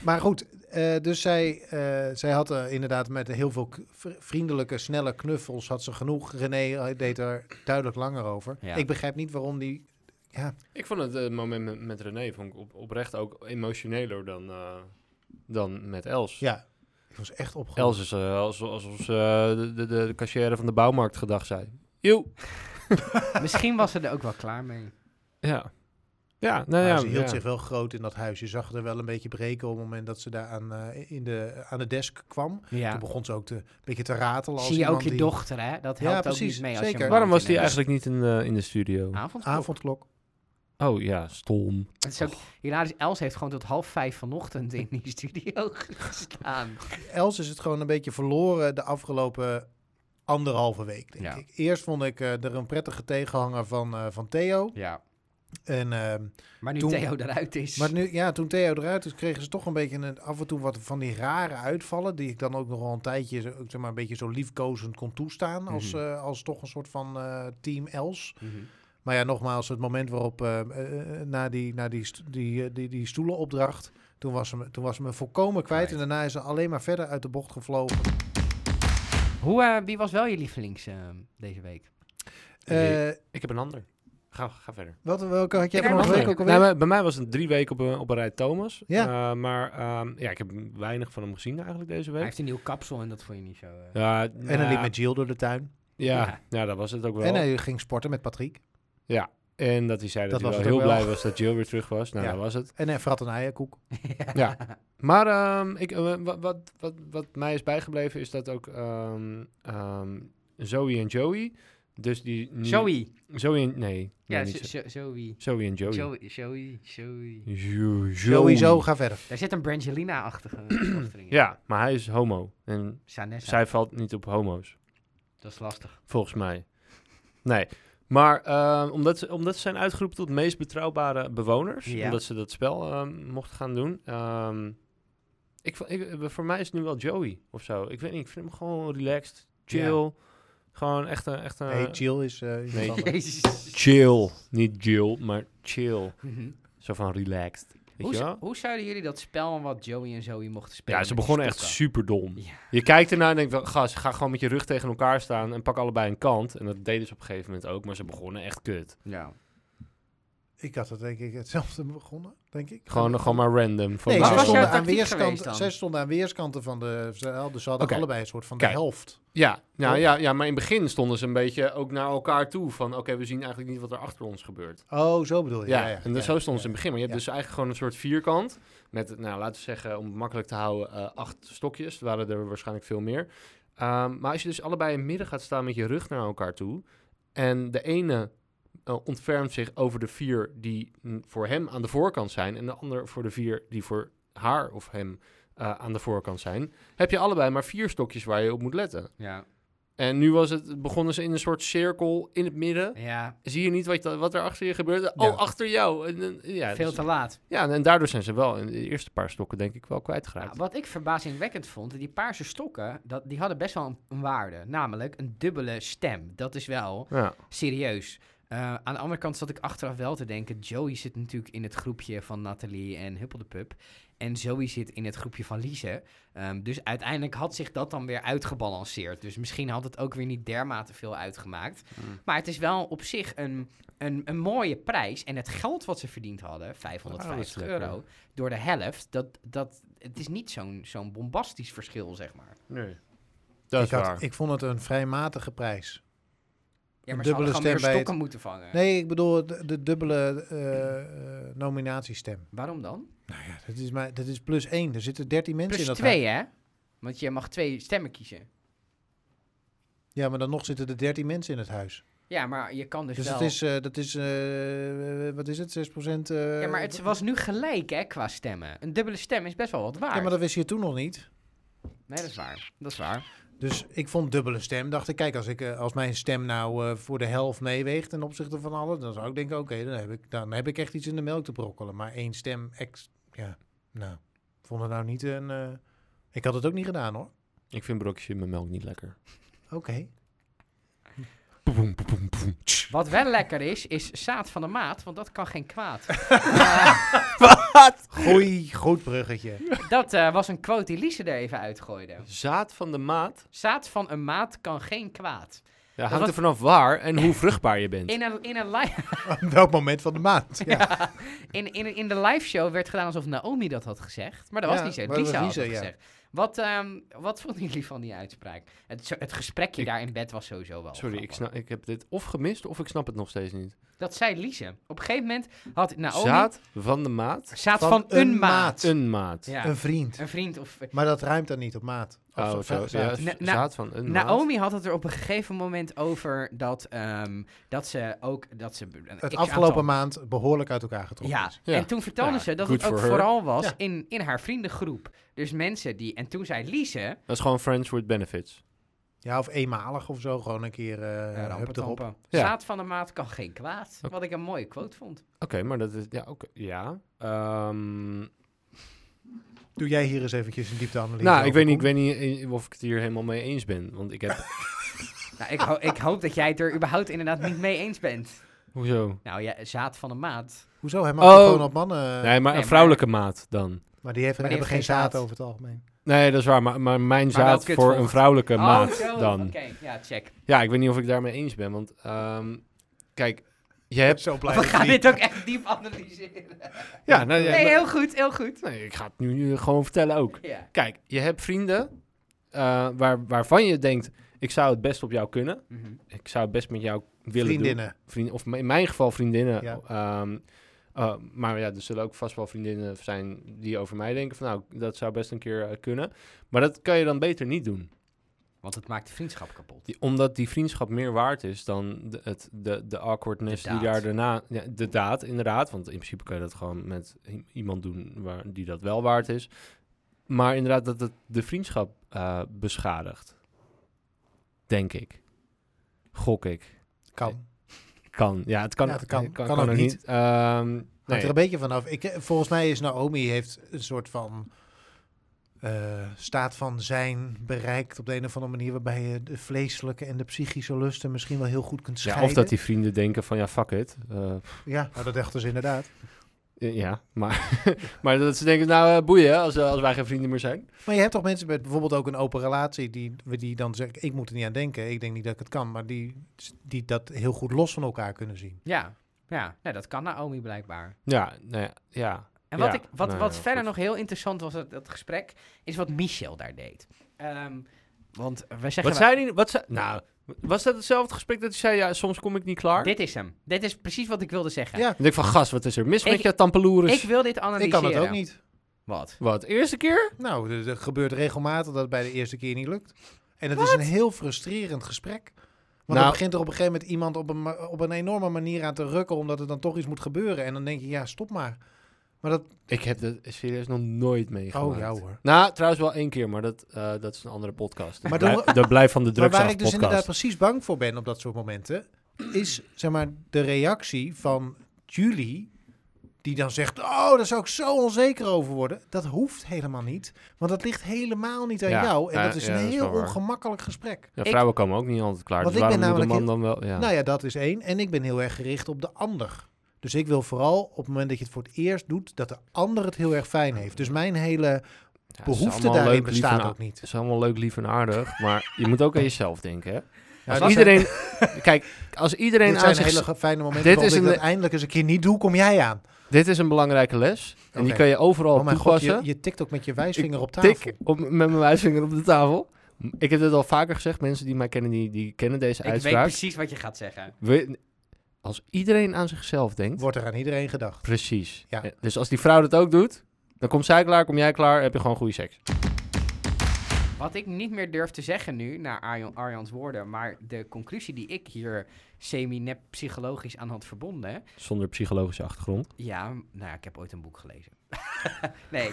S3: Maar goed, eh, dus zij, eh, zij had eh, inderdaad met heel veel k- v- vriendelijke, snelle knuffels had ze genoeg. René eh, deed er duidelijk langer over.
S4: Ja.
S3: Ik begrijp niet waarom die... Ja,
S2: Ik vond het eh, moment met, met René vond ik op, oprecht ook emotioneler dan, eh, dan met Els.
S3: ja. Ik was echt opgelopen.
S2: Els is eh, alsof, alsof ze eh, de, de, de cashier van de bouwmarkt gedag zei. Joe.
S4: Misschien was ze er ook wel klaar mee.
S2: Ja. Ja, nou ja.
S3: maar ze hield
S2: ja.
S3: zich wel groot in dat huis. Je zag er wel een beetje breken op het moment dat ze daar aan, eh, in de, aan de desk kwam.
S4: Ja.
S3: Toen begon ze ook te, een beetje te ratelen. Als
S4: Zie je
S3: iemand
S4: ook je
S3: die-
S4: dochter, hè? Dat
S3: Ja,
S4: helpt ook
S3: precies,
S4: niet mee. Als
S3: zeker.
S4: Je een
S2: Waarom was
S4: maand
S2: die
S4: in een
S2: eigenlijk niet in, eh, in de studio?
S4: Avond.
S3: Avondklok.
S2: Oh ja, stom.
S4: Het is ook
S3: Oh.
S4: hilarisch. Els heeft gewoon tot half vijf vanochtend in die studio gestaan.
S3: Els is het gewoon een beetje verloren de afgelopen anderhalve week, denk
S4: Ja.
S3: ik. Eerst vond ik eh, er een prettige tegenhanger van, eh, van Theo.
S4: Ja.
S3: En ehm,
S4: Maar nu
S3: Toen-
S4: Theo eruit is.
S3: Maar nu, ja, toen Theo eruit is, kregen ze toch een beetje een, af en toe wat van die rare uitvallen. Die ik dan ook nog wel een tijdje zo- ook zeg maar, een beetje zo liefkozend kon toestaan. Als,
S2: Mhm.
S3: eh, als toch een soort van eh, team Els.
S2: Mhm.
S3: Maar ja, nogmaals, het moment waarop eh, eh, eh, na, die, na die, st- die, eh, die, die stoelenopdracht. Toen was, ze me, toen was ze me volkomen kwijt. En daarna is ze alleen maar verder uit de bocht gevlogen.
S4: Hoe, eh, wie was wel je lievelings eh, deze week?
S3: Eh,
S2: Ik heb een ander. Ga, ga verder.
S3: wat, welke had jij
S4: Ik heb
S3: vorige
S4: nog
S3: week
S4: een.
S3: ook alweer?
S2: Nou, maar bij mij was het drie weken op een, op een rij Thomas.
S3: Ja.
S2: Eh, maar ehm, ja, ik heb weinig van hem gezien eigenlijk deze
S4: Hij
S2: week.
S4: heeft een nieuw kapsel en dat vond je niet zo... eh.
S2: Ja,
S3: en dan
S2: nou,
S3: liep met Jill door de tuin.
S2: Ja,
S4: Ja.
S2: ja. dat was het ook wel.
S3: En
S2: En,
S3: hij ging sporten met Patrick.
S2: dat hij zei dat,
S3: Dat
S2: hij
S3: was
S2: wel
S3: het
S2: heel
S3: ook wel.
S2: blij was dat Jill weer terug was. Nou,
S3: Ja.
S2: dat was het.
S3: En hij vrat een eierkoek.
S2: Ja. Maar ehm, ik, eh, wat, wat, wat, wat mij is bijgebleven is dat ook ehm, ehm, Zoe en Joey. Dus die nu-
S4: Joey.
S2: Zoe en... Nee.
S4: Ja,
S2: nee,
S4: zo-
S2: niet Zo-
S4: zo- Zoe.
S2: Zoe en Joey.
S4: Joey. Joey. Joey.
S2: Jo- Joey.
S3: Sowieso, ga verder.
S4: Daar zit een Brangelina-achtige achtering in.
S2: Ja, maar hij is homo. En
S4: Sanessa.
S2: zij valt niet op homo's,
S4: Dat is lastig.
S2: volgens mij. Nee. Maar ehm, omdat, ze, omdat ze zijn uitgeroepen tot meest betrouwbare bewoners,
S4: Ja.
S2: omdat ze dat spel ehm, mochten gaan doen. ehm, ik, vo- ik, voor mij is het nu wel Joey of zo. Ik weet niet, ik vind hem gewoon relaxed, chill. Gewoon echt een... Echt een
S3: hey, Jill is... eh, iemand
S2: Nee.
S3: anders.
S4: Jezus.
S2: chill. Niet Jill, maar chill.
S4: Mhm.
S2: Zo van relaxed. Weet
S4: Hoe,
S2: je
S4: z-
S2: wel?
S4: hoe zouden jullie dat spel wat Joey en Zoe mochten spelen?
S2: Ja, ze
S4: met die
S2: begonnen echt
S4: stokken?
S2: super dom.
S4: Ja.
S2: Je kijkt ernaar en denkt, wel, gast, ga gewoon met je rug tegen elkaar staan en pak allebei een kant. En dat deden ze op een gegeven moment ook, maar ze begonnen echt kut.
S4: Ja.
S3: Ik had het denk ik hetzelfde begonnen, denk ik.
S2: Gewoon, gewoon maar random. Van
S3: Nee,
S4: Maar
S2: nou,
S3: zij
S4: was jouw
S3: stonden, aan
S4: tactiek geweest
S3: weerskanten,
S4: dan?
S3: zij stonden aan weerskanten van de... ze hadden- Dus ze hadden
S2: Oké.
S3: allebei een soort van
S2: Kijk.
S3: de helft.
S2: ja,
S3: Oh.
S2: nou, ja, ja, maar in het begin stonden ze een beetje ook naar elkaar toe. Van oké, we zien eigenlijk niet wat er achter ons gebeurt.
S3: Oh, zo bedoel je.
S2: Ja,
S3: Ja, ja,
S2: en dus
S3: ja,
S2: zo stonden ze in
S3: ja.
S2: het begin. Maar je hebt dus eigenlijk gewoon een soort vierkant. Met, nou, laten we zeggen, om het makkelijk te houden, eh, acht stokjes. Er waren er waarschijnlijk veel meer. Ehm, maar als je dus allebei in het midden gaat staan met je rug naar elkaar toe. En de ene eh, ontfermt zich over de vier die mm, voor hem aan de voorkant zijn. En de ander voor de vier die voor haar of hem eh, aan de voorkant zijn. Heb je allebei maar vier stokjes waar je op moet letten.
S4: Ja.
S2: En nu was het, begonnen ze in een soort cirkel in het midden
S4: ja.
S2: zie je niet wat, je- wat er achter je gebeurt.
S3: Ja.
S2: Oh, achter jou. En, en- ja,
S4: Veel
S2: dus-
S4: te laat.
S2: ja, en- en daardoor zijn ze wel in de eerste paar stokken denk ik wel kwijtgeraakt.
S4: Ja, Nou, wat ik verbazingwekkend vond, die paarse stokken, dat, die hadden best wel een, een waarde. Namelijk een dubbele stem. Dat is wel
S2: Ja,
S4: serieus. Eh, aan de andere kant zat ik achteraf wel te denken, Joey zit natuurlijk in het groepje van Nathalie en Huppel de Pup. En Zoe zit in het groepje van Lise. Ehm, dus uiteindelijk had zich dat dan weer uitgebalanceerd. Dus misschien had het ook weer niet dermate veel uitgemaakt.
S2: Mm.
S4: Maar het is wel op zich een, een, een mooie prijs. En het geld wat ze verdiend
S3: Oh,
S4: hadden,
S2: Ah, dat is
S4: 550
S2: lekker.
S4: euro, door de helft, dat, dat, het is niet zo'n zo'n bombastisch verschil, zeg maar.
S2: nee. Dat is
S3: ik, had-
S2: waar.
S3: ik vond het een vrij matige prijs.
S4: Ja,
S3: Een
S4: maar ze
S3: dubbele
S4: hadden gewoon
S3: stem
S4: meer
S3: bij het-
S4: stokken moeten vangen.
S3: Nee, ik bedoel de, de dubbele eh, eh, nominatiestem.
S4: Waarom dan?
S3: Ja, dat, is maar, dat is plus één. Er zitten dertien mensen
S4: Plus
S3: in dat
S4: twee, hè? Want je mag twee stemmen kiezen.
S3: huis. Ja, maar dan nog zitten er dertien mensen in het huis.
S4: Ja, maar je kan dus,
S3: Dus
S4: wel...
S3: dat is, eh, dat is eh, eh, wat is het, 6%? procent? eh,
S4: Ja, maar het was nu gelijk, hè, qua stemmen. Een dubbele stem is best wel wat waard.
S3: ja, maar dat wist je toen nog niet.
S4: Nee, dat is waar. Dat is waar.
S3: Dus ik vond dubbele stem. Dacht ik, kijk, als, ik, eh, als mijn stem nou eh, voor de helft meeweegt ten opzichte van alles, dan zou ik denken, oké, dan, heb ik- dan heb ik echt iets in de melk te brokkelen. Maar één stem, ex, ja, nou, ik vond het nou niet een... eh, ik had het ook niet gedaan, hoor.
S2: Ik vind brokjes in mijn melk niet lekker.
S3: Oké.
S2: Poem, poem, poem, poem, tsch.
S4: Wat wel lekker is, is zaad van de maat, want dat kan geen kwaad.
S3: Goeie, goed bruggetje.
S4: dat eh, was een quote die Lise er even uitgooide.
S2: Zaad van de maat.
S4: Zaad van een maat kan geen kwaad.
S2: Ja,
S4: was-
S2: hangt er vanaf waar en hoe vruchtbaar je bent.
S4: In, een, in, een li-
S3: Welk moment van de maand? Ja,
S4: in, in, in de live show werd gedaan alsof Naomi dat had gezegd. Maar dat was
S3: Ja,
S4: niet zo.
S3: maar dat
S4: Lise had
S3: was
S4: dat
S3: Lise, ja.
S4: gezegd. Wat, ehm, wat vonden jullie van die uitspraak? Het, zo- het gesprekje
S2: Ik-
S4: daar in bed was sowieso wel.
S2: Sorry, ik,
S4: grappig.
S2: snap, ik heb dit of gemist of ik snap het nog steeds niet.
S4: Dat zei Lise. Op een gegeven moment had Naomi... Zaad,
S2: Zaad van de maat.
S4: van, een, maat.
S2: Een maat.
S4: Ja.
S3: Een vriend.
S4: Een vriend of...
S3: Maar dat ruimt dan niet op maat. Of
S2: Oh,
S3: zo-
S2: zo, ja,
S3: zaad.
S4: Na-
S2: z-
S4: na-
S2: zaad van een maat.
S4: Naomi had het er op een gegeven moment over dat, ehm, dat ze ook... Dat ze een
S3: Het
S4: x
S3: afgelopen
S4: aantal-
S3: maand behoorlijk uit elkaar getrokken
S4: Ja.
S3: is.
S2: Ja.
S4: en toen vertelde
S2: Ja,
S4: ze dat
S2: good
S4: het ook
S2: for her.
S4: vooral was
S3: Ja.
S4: in, in haar vriendengroep. Dus mensen die... En toen zei Lise...
S2: Dat is gewoon friends with benefits.
S3: Ja, of eenmalig of zo. Gewoon een keer eh
S4: Ja, rampen,
S3: hup erop.
S4: tampen.
S2: Ja.
S4: Zaad van de maat kan geen kwaad.
S2: Oké.
S4: Wat ik een mooie quote vond.
S2: maar dat is... Ja, oké. ja. Ehm,
S3: Doe jij hier eens eventjes een diepteanalyse
S2: nou, ik
S3: over,
S2: weet, niet, ik
S3: Koen?
S2: weet niet of ik het hier helemaal mee eens ben. Want ik heb...
S4: Nou, ik, ho- ik hoop dat jij het er überhaupt inderdaad niet mee eens bent.
S2: Hoezo?
S4: Nou ja, zaad van de maat.
S3: Hoezo? Hij mag
S2: Oh.
S3: toch gewoon op mannen. eh,
S2: Nee, maar
S4: maar-
S2: een vrouwelijke maat dan.
S3: Maar die heeft,
S4: Maar die
S3: hebben geen
S4: heeft geen
S3: zaad
S4: zaad.
S3: over het algemeen.
S2: Nee, dat is waar. Maar, maar mijn
S4: wel
S2: zaad
S4: kutvocht.
S2: voor een vrouwelijke maat
S4: Oh, zo,
S2: dan.
S4: Oké, ja, check.
S2: Ja, ik weet niet of ik daarmee eens ben. Want ehm, kijk, je hebt...
S3: Zo blij
S4: We
S3: dat
S4: gaan
S3: die-
S4: dit ook echt diep analyseren.
S2: Ja, nou, ja,
S4: Nee,
S2: nou-
S4: heel goed, heel goed.
S2: nee, ik ga het nu eh, gewoon vertellen ook.
S4: Ja.
S2: Kijk, je hebt vrienden eh, waar, waarvan je denkt... Ik zou het best op jou kunnen.
S4: Mhm.
S2: Ik zou het best met jou willen doen.
S3: Vriendinnen.
S2: Vriend, of in mijn geval vriendinnen.
S3: Ja.
S2: ehm, eh, maar ja, er zullen ook vast wel vriendinnen zijn die over mij denken van... Nou, dat zou best een keer eh, kunnen. Maar dat kan je dan beter niet doen.
S4: Want het maakt de vriendschap kapot.
S2: Die- omdat die vriendschap meer waard is dan de, het, de, de awkwardness
S4: De
S2: die
S4: daad.
S2: daar daarna... Ja, de daad, inderdaad. Want in principe kan je dat gewoon met i- iemand doen waar, die dat wel waard is. Maar inderdaad dat het de vriendschap eh, beschadigt. Denk ik. Gok ik.
S3: Kan.
S2: Kan. Ja, het kan,
S3: Ja, het kan. Kan
S2: ook
S3: ook niet.
S2: Ehm, nee.
S3: Hangt er een beetje vanaf. Ik, eh, volgens mij is Naomi heeft een soort van eh, staat van zijn bereikt op de een of andere manier waarbij je de vleeselijke en de psychische lusten misschien wel heel goed kunt
S2: ja,
S3: scheiden.
S2: of dat die vrienden denken van ja, fuck it. Eh,
S3: Ja, nou, dat dacht dus inderdaad.
S2: eh, ja, maar, maar dat ze denken nou eh, boeien als, eh, als wij geen vrienden meer zijn.
S3: Maar je hebt toch mensen met bijvoorbeeld ook een open relatie die, die dan zeggen, ik moet er niet aan denken, ik denk niet dat ik het kan, maar die, die dat heel goed los van elkaar kunnen zien.
S4: Ja, ja. Nee, dat kan Naomi blijkbaar.
S2: Ja, nou ja, ja.
S4: En wat,
S2: Ja,
S4: ik, wat,
S2: nou
S4: wat
S2: ja,
S4: verder
S2: goed.
S4: nog heel interessant was uit dat gesprek, is wat Michel daar deed. Ehm, want we zeggen...
S2: Wat zei die? Wat zei, nou, was dat hetzelfde gesprek dat hij zei, ja, soms kom ik niet klaar?
S4: Dit is hem. Dit is precies wat ik wilde zeggen.
S3: Ja,
S2: Dan denk ik van, gast, wat is er mis
S4: Ik-
S2: met je tampeloeres?
S4: Ik wil dit analyseren.
S3: ik kan dat ook niet.
S4: Wat?
S2: Wat, eerste keer?
S3: Nou, er er gebeurt regelmatig dat het bij de eerste keer niet lukt. En het is een heel frustrerend gesprek. Want
S2: Nou-
S3: dan begint er op een gegeven moment iemand op een, ma- op een enorme manier aan te rukken... omdat er dan toch iets moet gebeuren. En dan denk je, ja, stop maar. Maar dat...
S2: Ik heb dat serieus nog nooit meegemaakt.
S3: Oh, ja hoor.
S2: Nou, trouwens wel één keer, maar dat, eh, dat is een andere podcast. De
S3: Maar
S2: Blijf-
S3: doen
S2: de Blijf van de
S3: Maar
S2: Drugs
S3: waar
S2: af
S3: ik dus inderdaad
S2: podcast.
S3: precies bang voor ben op dat soort momenten... is, zeg maar, de reactie van Julie... die dan zegt, oh, daar zou ik zo onzeker over worden. Dat hoeft helemaal niet. Want dat ligt helemaal niet aan
S2: Ja,
S3: jou. En
S2: nou,
S3: dat is
S2: ja,
S3: een
S2: dat is
S3: heel
S2: wel waar.
S3: ongemakkelijk gesprek.
S2: Ja,
S4: ik-
S2: vrouwen komen ook niet altijd klaar,
S3: Want
S2: dus
S3: ik
S2: waarom
S3: ben
S2: moet een man
S3: namelijk
S2: dan wel... Ja.
S3: Nou ja, dat is één. En ik ben heel erg gericht op de ander. Dus ik wil vooral op het moment dat je het voor het eerst doet, dat de ander het heel erg fijn heeft. Dus mijn hele
S2: Ja, het is
S3: behoefte
S2: allemaal
S3: daarin
S2: leuk, lief en
S3: bestaat
S2: a-
S3: ook niet.
S2: Het is allemaal leuk, lief en aardig, maar je moet ook aan jezelf denken, hè? Als
S3: dat
S2: iedereen... Kijk, als iedereen
S3: dit
S2: aan
S3: zijn
S2: zich...
S3: hele ge- fijne momenten.
S2: Dit
S3: Dit is
S2: is
S3: ik
S2: een-
S3: dat eindelijk eens een keer niet doe, kom jij aan.
S2: Dit is een belangrijke les en die
S3: Oké.
S2: kan je overal
S3: Oh mijn god,
S2: toepassen.
S3: je, je tikt ook met je wijsvinger op tafel.
S2: tik op, met mijn wijsvinger op de tafel. M- Ik heb dit al vaker gezegd. Mensen die mij kennen, die, die kennen deze
S4: Ik weet
S2: uitspraak.
S4: precies wat je gaat zeggen.
S2: We- als iedereen aan zichzelf denkt,
S3: Wordt er aan iedereen gedacht.
S2: precies.
S3: Ja.
S2: Eh, Dus als die vrouw dat ook doet, dan komt zij klaar, kom jij klaar, heb je gewoon goede seks.
S4: Wat ik niet meer durf te zeggen nu, naar Arjan, Arjan's woorden, maar de conclusie die ik hier semi-nep psychologisch aan had verbonden...
S2: Zonder psychologische achtergrond.
S4: Ja, nou ja, ik heb ooit een boek gelezen. nee,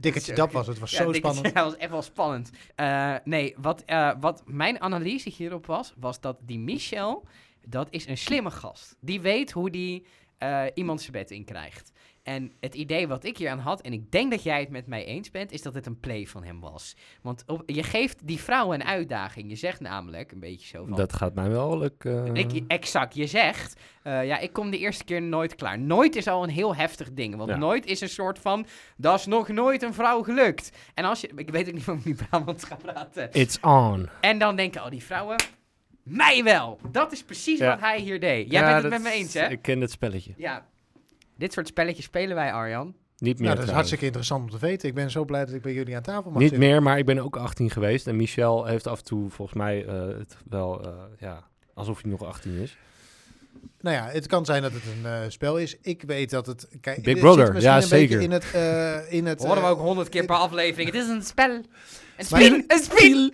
S3: Dikkertje
S4: Sorry.
S3: dat was het. was
S4: Ja,
S3: zo
S4: ik-
S3: spannend.
S4: dat was echt wel spannend. Eh, nee, wat, eh, wat mijn analyse hierop was, was dat die Michel, dat is een slimme gast. Die weet hoe die eh, iemand zijn bed in krijgt. En het idee wat ik hier aan had, en ik denk dat jij het met mij eens bent, is dat het een play van hem was. Want op- je geeft die vrouw een uitdaging. Je zegt namelijk een beetje zo van.
S2: Dat gaat mij wel eh, lukken.
S4: Ik, exact, je zegt, eh, ja, ik kom de eerste keer nooit klaar. Nooit is al een heel heftig ding, want
S2: Ja.
S4: nooit is een soort van, dat is nog nooit een vrouw gelukt. En als je, ik weet ook niet of ik nu Brabant ga praten.
S2: It's on.
S4: En dan denken al die vrouwen, mij wel. Dat is precies
S2: Ja.
S4: wat hij hier deed. Jij
S2: Ja,
S4: bent het
S2: dat
S4: met me
S2: is-
S4: eens, hè?
S2: Ik ken het spelletje.
S4: Ja. Dit soort spelletjes spelen wij, Arjan.
S2: Niet meer
S3: Nou, dat is
S2: trouwens.
S3: hartstikke interessant om te weten. Ik ben zo blij dat ik bij jullie aan tafel mag
S2: Niet
S3: zitten.
S2: meer, maar ik ben ook 18 geweest. En Michel heeft af en toe volgens mij eh, het wel, eh, ja, alsof hij nog 18 is.
S3: Nou ja, het kan zijn dat het een eh, spel is. Ik weet dat het... Kijk,
S2: Big
S3: het zit
S2: Brother,
S3: misschien
S2: ja,
S3: een beetje
S2: zeker.
S3: In het, eh, in het,
S4: Horen we
S3: eh,
S4: ook honderd keer per aflevering. Het is een spel. Een
S3: Maar-
S4: spiel, een spiel.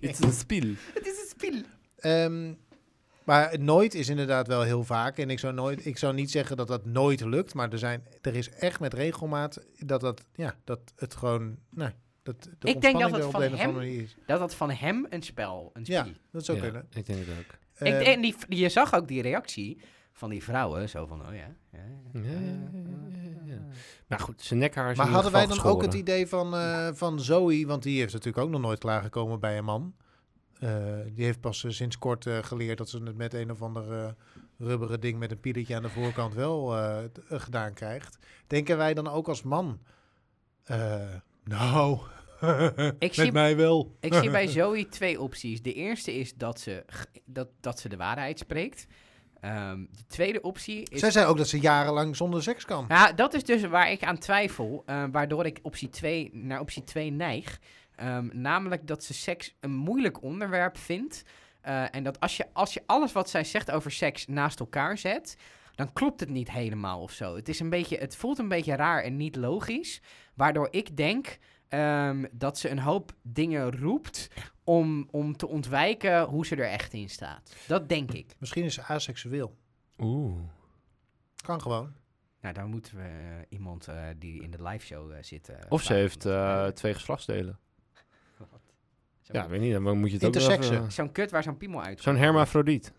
S2: It's een spiel.
S4: Het is een spiel.
S3: Ehm, maar nooit is inderdaad wel heel vaak. En ik zou, nooit, ik zou niet zeggen dat dat nooit lukt. Maar er, zijn, er is echt met regelmaat dat, dat, ja, dat het gewoon nou, Dat, de
S4: denk
S3: ontspanning
S4: dat het
S3: er op
S4: van
S3: de een of
S4: hem-
S3: andere manier is.
S4: Dat dat van hem een spel, een spie.
S3: Ja, dat zou
S2: Ja,
S3: kunnen.
S2: Ik denk het ook.
S4: Ik,
S3: Eh,
S4: en die, je zag ook die reactie van die vrouwen, zo van, oh ja. ja, ja,
S2: Ja, ja,
S4: ja,
S2: ja, ja, ja. Maar goed, zijn nekhaar is
S3: maar
S2: in ieder
S3: hadden wij dan
S2: geval
S3: ook het
S2: geschoren.
S3: idee van, eh, van Zoe, want die heeft natuurlijk ook nog nooit klaargekomen bij een man. Eh, die heeft pas eh, sinds kort eh, geleerd dat ze het met een of ander eh, rubberen ding met een pieletje aan de voorkant wel eh, t- eh, gedaan krijgt. Denken wij dan ook als man, eh, nou, met
S4: zie-
S3: mij wel.
S4: Ik zie bij Zoe twee opties. De eerste is dat ze, g- dat, dat ze de waarheid spreekt. Ehm, de tweede optie is...
S3: Zij zei ook dat ze jarenlang zonder seks kan.
S4: Ja, dat is dus waar ik aan twijfel, eh, waardoor ik optie 2 naar optie 2 neig. Ehm, namelijk dat ze seks een moeilijk onderwerp vindt. Eh, en dat als je, als je alles wat zij zegt over seks naast elkaar zet, dan klopt het niet helemaal of zo. Het, is een beetje, het voelt een beetje raar en niet logisch. Waardoor ik denk ehm, dat ze een hoop dingen roept om, om te ontwijken hoe ze er echt in staat. Dat denk ik.
S3: Misschien is ze aseksueel.
S2: Oeh.
S3: Kan gewoon.
S4: Nou, daar moeten we eh, iemand eh, die in de live show zit. eh,
S2: Of ze
S4: vragen om
S2: heeft
S4: dat te
S2: eh,
S4: doen.
S2: twee geslachtsdelen.
S4: Zo'n
S2: Ja, weet niet, dan moet je het ook nog
S3: Intersexen.
S2: even-
S4: zo'n kut waar zo'n piemel uit.
S2: Zo'n hermafrodiet.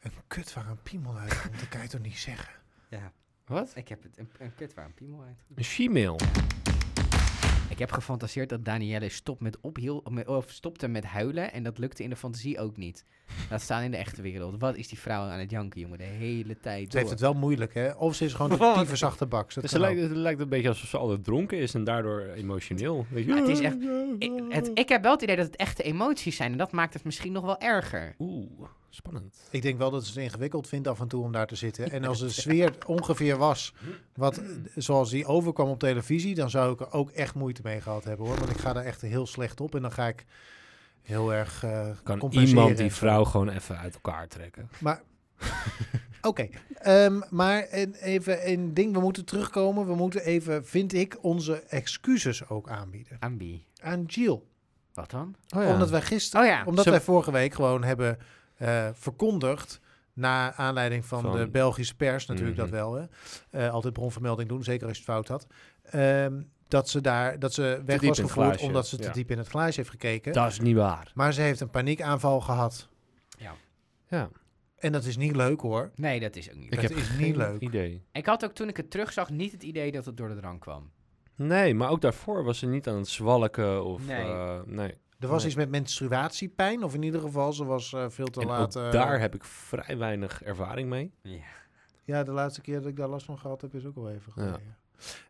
S3: Een kut waar een piemel uitkomt, dat kan je toch niet zeggen?
S4: Ja,
S2: Wat?
S4: ik heb het. Een, een kut waar een piemel uit.
S2: Een she-mail.
S4: Ik heb gefantaseerd dat Danielle stopt met ophiel, met- of stopte met huilen. En dat lukte in de fantasie ook niet. Laat staan in de echte wereld. Wat is die vrouw aan het janken, jongen? De hele tijd.
S3: Ze heeft het
S4: door.
S3: wel moeilijk, hè? Of ze is gewoon
S4: Wat?
S3: de tyfuszachte baks. Dat
S2: Dus
S3: kan
S2: het lijkt,
S3: ook.
S2: het lijkt een beetje alsof ze altijd dronken is en daardoor emotioneel. Weet je?
S4: Maar het is echt- ik, het, ik heb wel het idee dat het echte emoties zijn. En dat maakt het misschien nog wel erger.
S2: Oeh, spannend.
S3: Ik denk wel dat ze het ingewikkeld vindt af en toe om daar te zitten. En als de sfeer ongeveer was wat, zoals die overkwam op televisie... dan zou ik er ook echt moeite mee gehad hebben, hoor. Want ik ga daar echt heel slecht op en dan ga ik heel erg eh
S2: Kan
S3: compenseren.
S2: iemand die vrouw gewoon even uit elkaar trekken?
S3: Maar... Oké, ehm, maar en even een ding, we moeten terugkomen. We moeten even, vind ik, onze excuses ook aanbieden.
S4: Aan wie?
S3: Aan Jill.
S4: Wat dan?
S2: Oh
S3: Omdat wij gisteren,
S4: Oh ja.
S3: omdat
S2: Zo-
S3: wij vorige week gewoon hebben eh, verkondigd. Naar aanleiding van,
S2: Van-
S3: de Belgische pers, natuurlijk
S2: Mhm.
S3: dat wel. Hè. Eh, altijd bronvermelding doen, zeker als je het fout had. Ehm, dat ze daar dat ze weg
S2: diep
S3: was
S2: in het
S3: gevoerd
S2: glaasje,
S3: omdat ze te
S2: ja.
S3: diep in het glaasje heeft gekeken.
S2: Dat is niet waar.
S3: Maar ze heeft een paniekaanval gehad.
S2: Ja,
S3: En dat is niet leuk hoor.
S4: Nee, dat is ook niet.
S2: ik
S3: dat
S2: heb
S3: is niet
S2: geen
S3: leuk.
S2: idee.
S4: Ik had ook toen ik het terugzag niet het idee dat het door de drank kwam.
S2: Nee, maar ook daarvoor was ze niet aan het zwalken of...
S4: Nee.
S2: eh, nee.
S3: Er was
S2: Nee.
S3: iets met menstruatiepijn, of in ieder geval, ze was eh, veel te
S2: En ook
S3: laat. eh,
S2: daar heb ik vrij weinig ervaring mee.
S3: Ja, de laatste keer dat ik daar last van gehad heb, is ook al even
S2: Ja.
S3: geleden.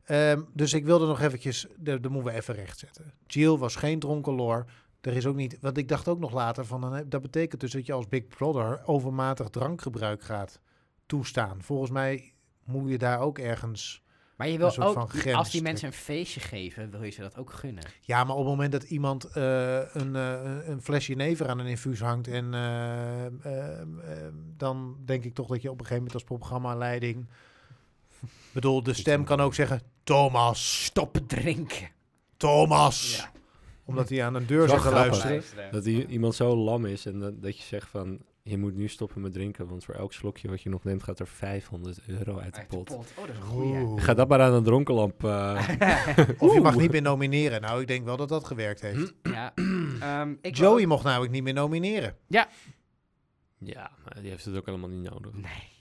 S3: Ehm, dus ik wilde nog eventjes, de, de moeten we even rechtzetten. Jill was geen dronkenloor. Er is ook niet, want ik dacht ook nog later van, dan heb- dat betekent dus dat je als Big Brother overmatig drankgebruik gaat toestaan. Volgens mij moet je daar ook ergens...
S4: Maar je
S3: Een
S4: wil
S3: soort van
S4: ook,
S3: grens
S4: als die
S3: trekken.
S4: mensen een feestje geven, wil je ze dat ook gunnen.
S3: Ja, maar op het moment dat iemand eh, een, eh, een flesje never aan een infuus hangt... en eh, ehm, ehm, dan denk ik toch dat je op een gegeven moment als programma-leiding... Ik bedoel, de stem kan ook zeggen, Thomas,
S4: Stop drinken.
S3: Thomas.
S4: Ja.
S3: Omdat hij aan een deur
S2: Zo
S3: zat te
S2: grappig.
S3: luisteren.
S2: Dat i- iemand zo lam is en dat, dat je zegt van... Je moet nu stoppen met drinken, want voor elk slokje wat je nog neemt... gaat er 500 euro uit de
S4: Uit de
S2: pot.
S4: pot. Oh, dat is een goeie.
S3: Oeh.
S2: Ga dat maar aan een dronkenlamp. eh.
S3: Of je mag niet meer nomineren. Nou, ik denk wel dat dat gewerkt
S2: Hm?
S3: heeft.
S4: Ja. Ehm, ik wil
S3: Joey
S4: ook-
S3: mocht namelijk niet meer nomineren.
S2: ja, maar die heeft het ook helemaal niet nodig.
S4: Nee.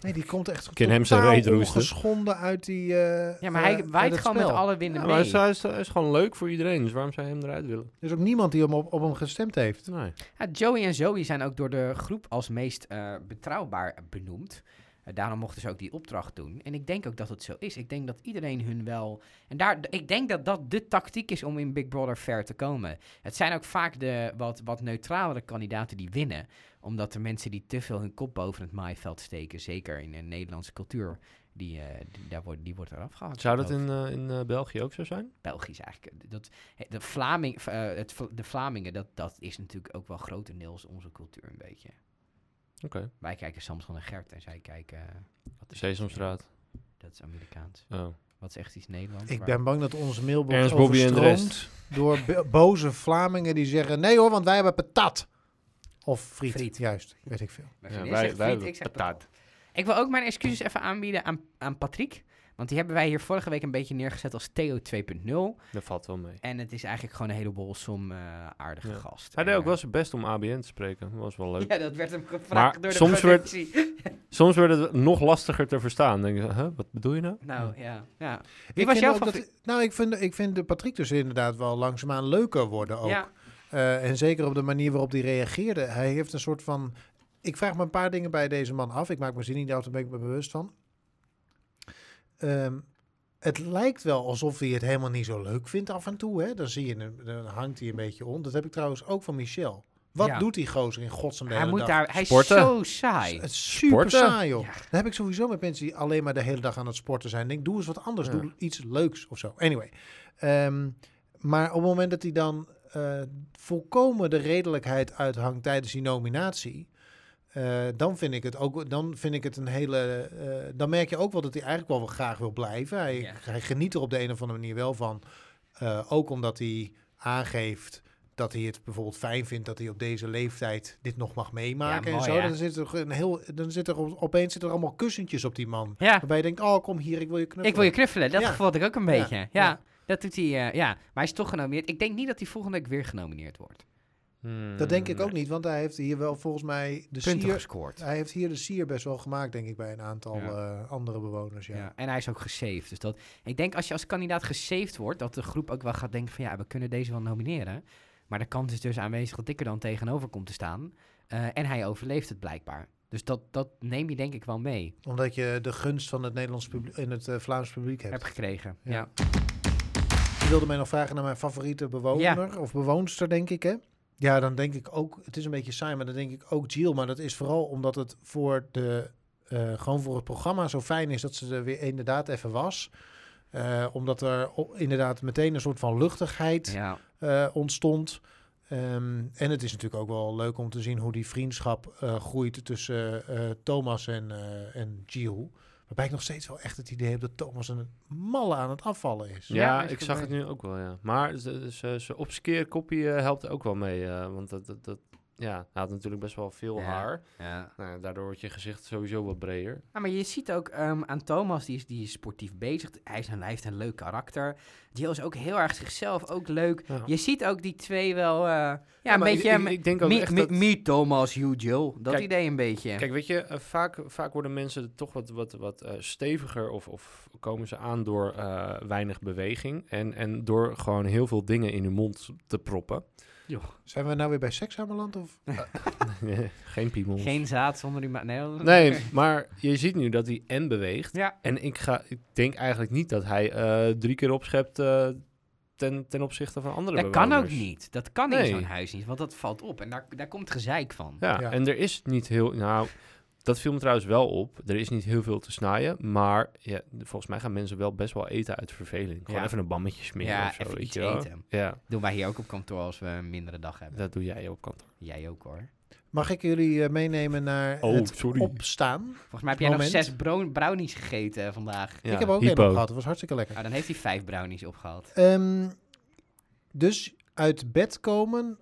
S3: Nee, die komt echt
S2: Ken hem zijn
S3: totaal
S2: reet roesten.
S3: ongeschonden uit die... eh,
S4: Ja, maar
S3: eh,
S4: hij
S3: uit
S4: waait
S3: het
S4: gewoon
S3: spel.
S4: met alle winden
S2: Ja, maar
S4: mee.
S2: hij is, hij is- hij is gewoon leuk voor iedereen, dus waarom zou je hem eruit willen?
S3: Er is ook niemand die hem op, op hem gestemd heeft.
S2: Nee.
S4: Ja, Joey en Zoe zijn ook door de groep als meest eh, betrouwbaar benoemd. Eh, daarom mochten ze ook die opdracht doen. En ik denk ook dat het zo is. Ik denk dat iedereen hun wel. En daar, d- ik denk dat dat de tactiek is om in Big Brother ver te komen. Het zijn ook vaak de wat, wat neutralere kandidaten die winnen. Omdat de mensen die te veel hun kop boven het maaiveld steken, zeker in een Nederlandse cultuur, die, eh, die, daar wordt, die wordt eraf gehaald.
S2: Zou dat in, eh, in eh, België ook zo zijn?
S4: Belgisch eigenlijk. Dat, de, Vlaming, eh, het, Vla- de Vlamingen, dat, dat is natuurlijk ook wel grotendeels onze cultuur een beetje.
S2: Oké.
S4: Wij kijken Samson en Gert en zij kijken... eh, Wat is
S2: Sesamstraat.
S4: Dat is Amerikaans.
S2: Oh.
S4: Wat is echt iets Nederlands?
S3: Ik
S4: maar-
S3: ben bang dat onze mailbox
S2: Ernst, Bobby en de
S3: overstroomt door bo- boze Vlamingen die zeggen... Nee hoor, want wij hebben patat. Of friet,
S4: Friet.
S3: juist. Weet ik veel.
S4: Mijn
S2: Ja,
S4: vriendin
S2: wij-
S4: zegt
S2: wij
S4: friet,
S2: hebben
S4: ik zeg
S2: patat.
S4: patat. Ik wil ook mijn excuses even aanbieden aan, aan Patrick. Want die hebben wij hier vorige week een beetje neergezet als Theo 2.0.
S2: Dat valt wel mee.
S4: En het is eigenlijk gewoon een heleboel som eh aardige
S2: Ja.
S4: gast.
S2: Hij deed
S4: En,
S2: ook wel zijn best om ABN te spreken. Dat was wel
S4: eh,
S2: leuk.
S4: Ja, dat werd hem gevraagd
S2: Maar
S4: door de
S2: soms werd-
S4: productie.
S2: Soms werd het nog lastiger te verstaan. Dan denk je, huh, wat bedoel je nou?
S4: Nou, ja. ja. was
S3: Ik vind
S4: jouw
S3: ook dat- Nou, ik vind, ik vind de Patrick dus inderdaad wel langzaamaan leuker worden ook.
S4: ja.
S3: Eh, en zeker op de manier waarop hij reageerde. Hij heeft een soort van... Ik vraag me een paar dingen bij deze man af. Ik maak me zin niet uit, daar ben ik me bewust van. Ehm, het lijkt wel alsof hij het helemaal niet zo leuk vindt af en toe. Hè? Dan, zie je, hem- dan hangt hij een beetje om. Dat heb ik trouwens ook van Michel. Wat
S4: Ja.
S3: doet die gozer in godsnaam de
S4: Hij,
S3: hele
S4: moet
S3: dag?
S4: daar, hij is
S2: Sporten.
S4: zo saai.
S3: Het is super
S2: Sporten?
S3: saai, joh.
S4: Ja.
S3: Dat heb ik sowieso met mensen die alleen maar de hele dag aan het sporten zijn. Ik Denk, doe eens wat anders.
S2: Ja.
S3: Doe iets leuks of zo. Anyway. Ehm, maar op het moment dat hij dan eh, volkomen de redelijkheid uithangt tijdens die nominatie... eh, dan vind ik het ook, dan vind ik het een hele. eh, dan merk je ook wel dat hij eigenlijk wel graag wil blijven. Hij,
S4: Ja.
S3: hij geniet er op de een of andere manier wel van. Eh, ook omdat hij aangeeft dat hij het bijvoorbeeld fijn vindt dat hij op deze leeftijd dit nog mag meemaken
S4: Ja, mooi,
S3: en zo.
S4: hè?
S3: Dan zit er een heel, dan zit er op- opeens zit er allemaal kussentjes op die man.
S4: Ja.
S3: Waarbij je denkt, oh kom hier, ik wil je knuffelen.
S4: Ik wil je knuffelen. Dat
S3: Ja.
S4: gevoel had ik ook een
S3: Ja,
S4: beetje. Ja,
S3: ja.
S4: dat doet hij. eh, ja, maar hij is toch genomineerd. Ik denk niet dat hij volgende week weer genomineerd wordt.
S2: Hmm.
S3: Dat denk ik ook niet, want hij heeft hier wel volgens mij de
S4: Punten
S3: sier,
S4: gescoord.
S3: hij heeft hier de sier best wel gemaakt, denk ik, bij een aantal
S4: Ja.
S3: eh, andere bewoners. Ja.
S4: Ja. En hij is ook gesaved. Dus dat, ik denk als je als kandidaat gesaved wordt, dat de groep ook wel gaat denken van ja, we kunnen deze wel nomineren. Maar de kans is dus aanwezig dat ik er dan tegenover kom te staan. Eh, en hij overleeft het blijkbaar. Dus dat, dat neem je denk ik wel mee.
S3: Omdat je de gunst van het Nederlands publiek en het eh, Vlaams publiek hebt.
S4: Heb gekregen.
S3: Ja.
S4: Ja.
S3: Je wilde mij nog vragen naar mijn favoriete bewoner of bewoonster, denk ik, hè? Ja, dan denk ik ook, het is een beetje saai, maar dan denk ik ook Jill. Maar dat is vooral omdat het voor de, eh, gewoon voor het programma zo fijn is dat ze er weer inderdaad even was. Eh, omdat er o- inderdaad meteen een soort van luchtigheid
S4: ja.
S3: eh, ontstond. Ehm, en het is natuurlijk ook wel leuk om te zien hoe die vriendschap eh, groeit tussen eh, Thomas en, eh en Jill. Waarbij ik nog steeds wel echt het idee heb dat Thomas een malle aan het afvallen is.
S2: Ja,
S4: Ja, is
S2: ik
S4: goed
S2: zag het
S4: mee.
S2: nu ook wel, ja. Maar ze- ze- zijn obscureerkoppie eh, helpt ook wel mee. eh, want dat, dat, dat, ja, hij had natuurlijk best wel veel
S4: Ja.
S2: haar.
S4: ja.
S2: Nou, ja, daardoor wordt je gezicht sowieso wat breder.
S4: Ja, maar je ziet ook ehm, aan Thomas, die is, die is sportief bezig. Hij, is een, hij heeft een leuk karakter. Jill is ook heel erg zichzelf, ook leuk.
S2: Ja.
S4: Je ziet ook die twee wel... eh, ja, een
S2: maar
S4: beetje...
S2: Ik,
S4: ehm,
S2: ik, ik denk ook
S4: me,
S2: echt
S4: me-
S2: dat...
S4: me, Thomas, you, Jill. Dat
S2: Kijk,
S4: idee een beetje.
S2: Kijk, weet je, eh, vaak, vaak worden mensen toch wat, wat, wat eh, steviger of, of komen ze aan door eh, weinig beweging. En, en door gewoon heel veel dingen in hun mond te proppen.
S3: Zijn we nou weer bij seks aanbeland? Of?
S2: Geen piemel.
S4: Geen zaad zonder die... ma- Nee,
S2: Nee, maar je ziet nu dat hij en beweegt.
S4: Ja.
S2: En ik, ga, ik denk eigenlijk niet dat hij eh, drie keer opschept eh, ten, ten opzichte van andere
S4: dat kan ook
S2: bewoners.
S4: niet. Dat kan in
S2: Nee.
S4: zo'n huis niet, want dat valt op. En daar, daar komt gezeik van.
S2: Ja,
S3: Ja.
S2: en er is niet heel... Nou, dat viel me trouwens wel op. Er is niet heel veel te snijden, maar ja, volgens mij gaan mensen wel best wel eten uit verveling. Gewoon
S4: Ja.
S2: even een bammetje smeren
S4: Ja,
S2: of zo,
S4: even
S2: weet
S4: iets
S2: je wel.
S4: eten.
S2: Ja,
S4: Doen wij hier ook op kantoor als we een mindere dag hebben.
S2: dat doe jij op kantoor.
S4: Jij ook hoor.
S3: Mag ik jullie eh, meenemen naar
S2: Oh,
S3: het
S2: sorry.
S3: opstaan?
S4: Volgens mij heb jij nog
S3: Moment.
S4: zes bro- brownies gegeten vandaag.
S2: Ja,
S3: ik heb er ook één
S2: hypo.
S3: op gehad, dat was hartstikke lekker.
S4: Ah, dan heeft hij vijf brownies opgehaald.
S3: Ehm, dus uit bed komen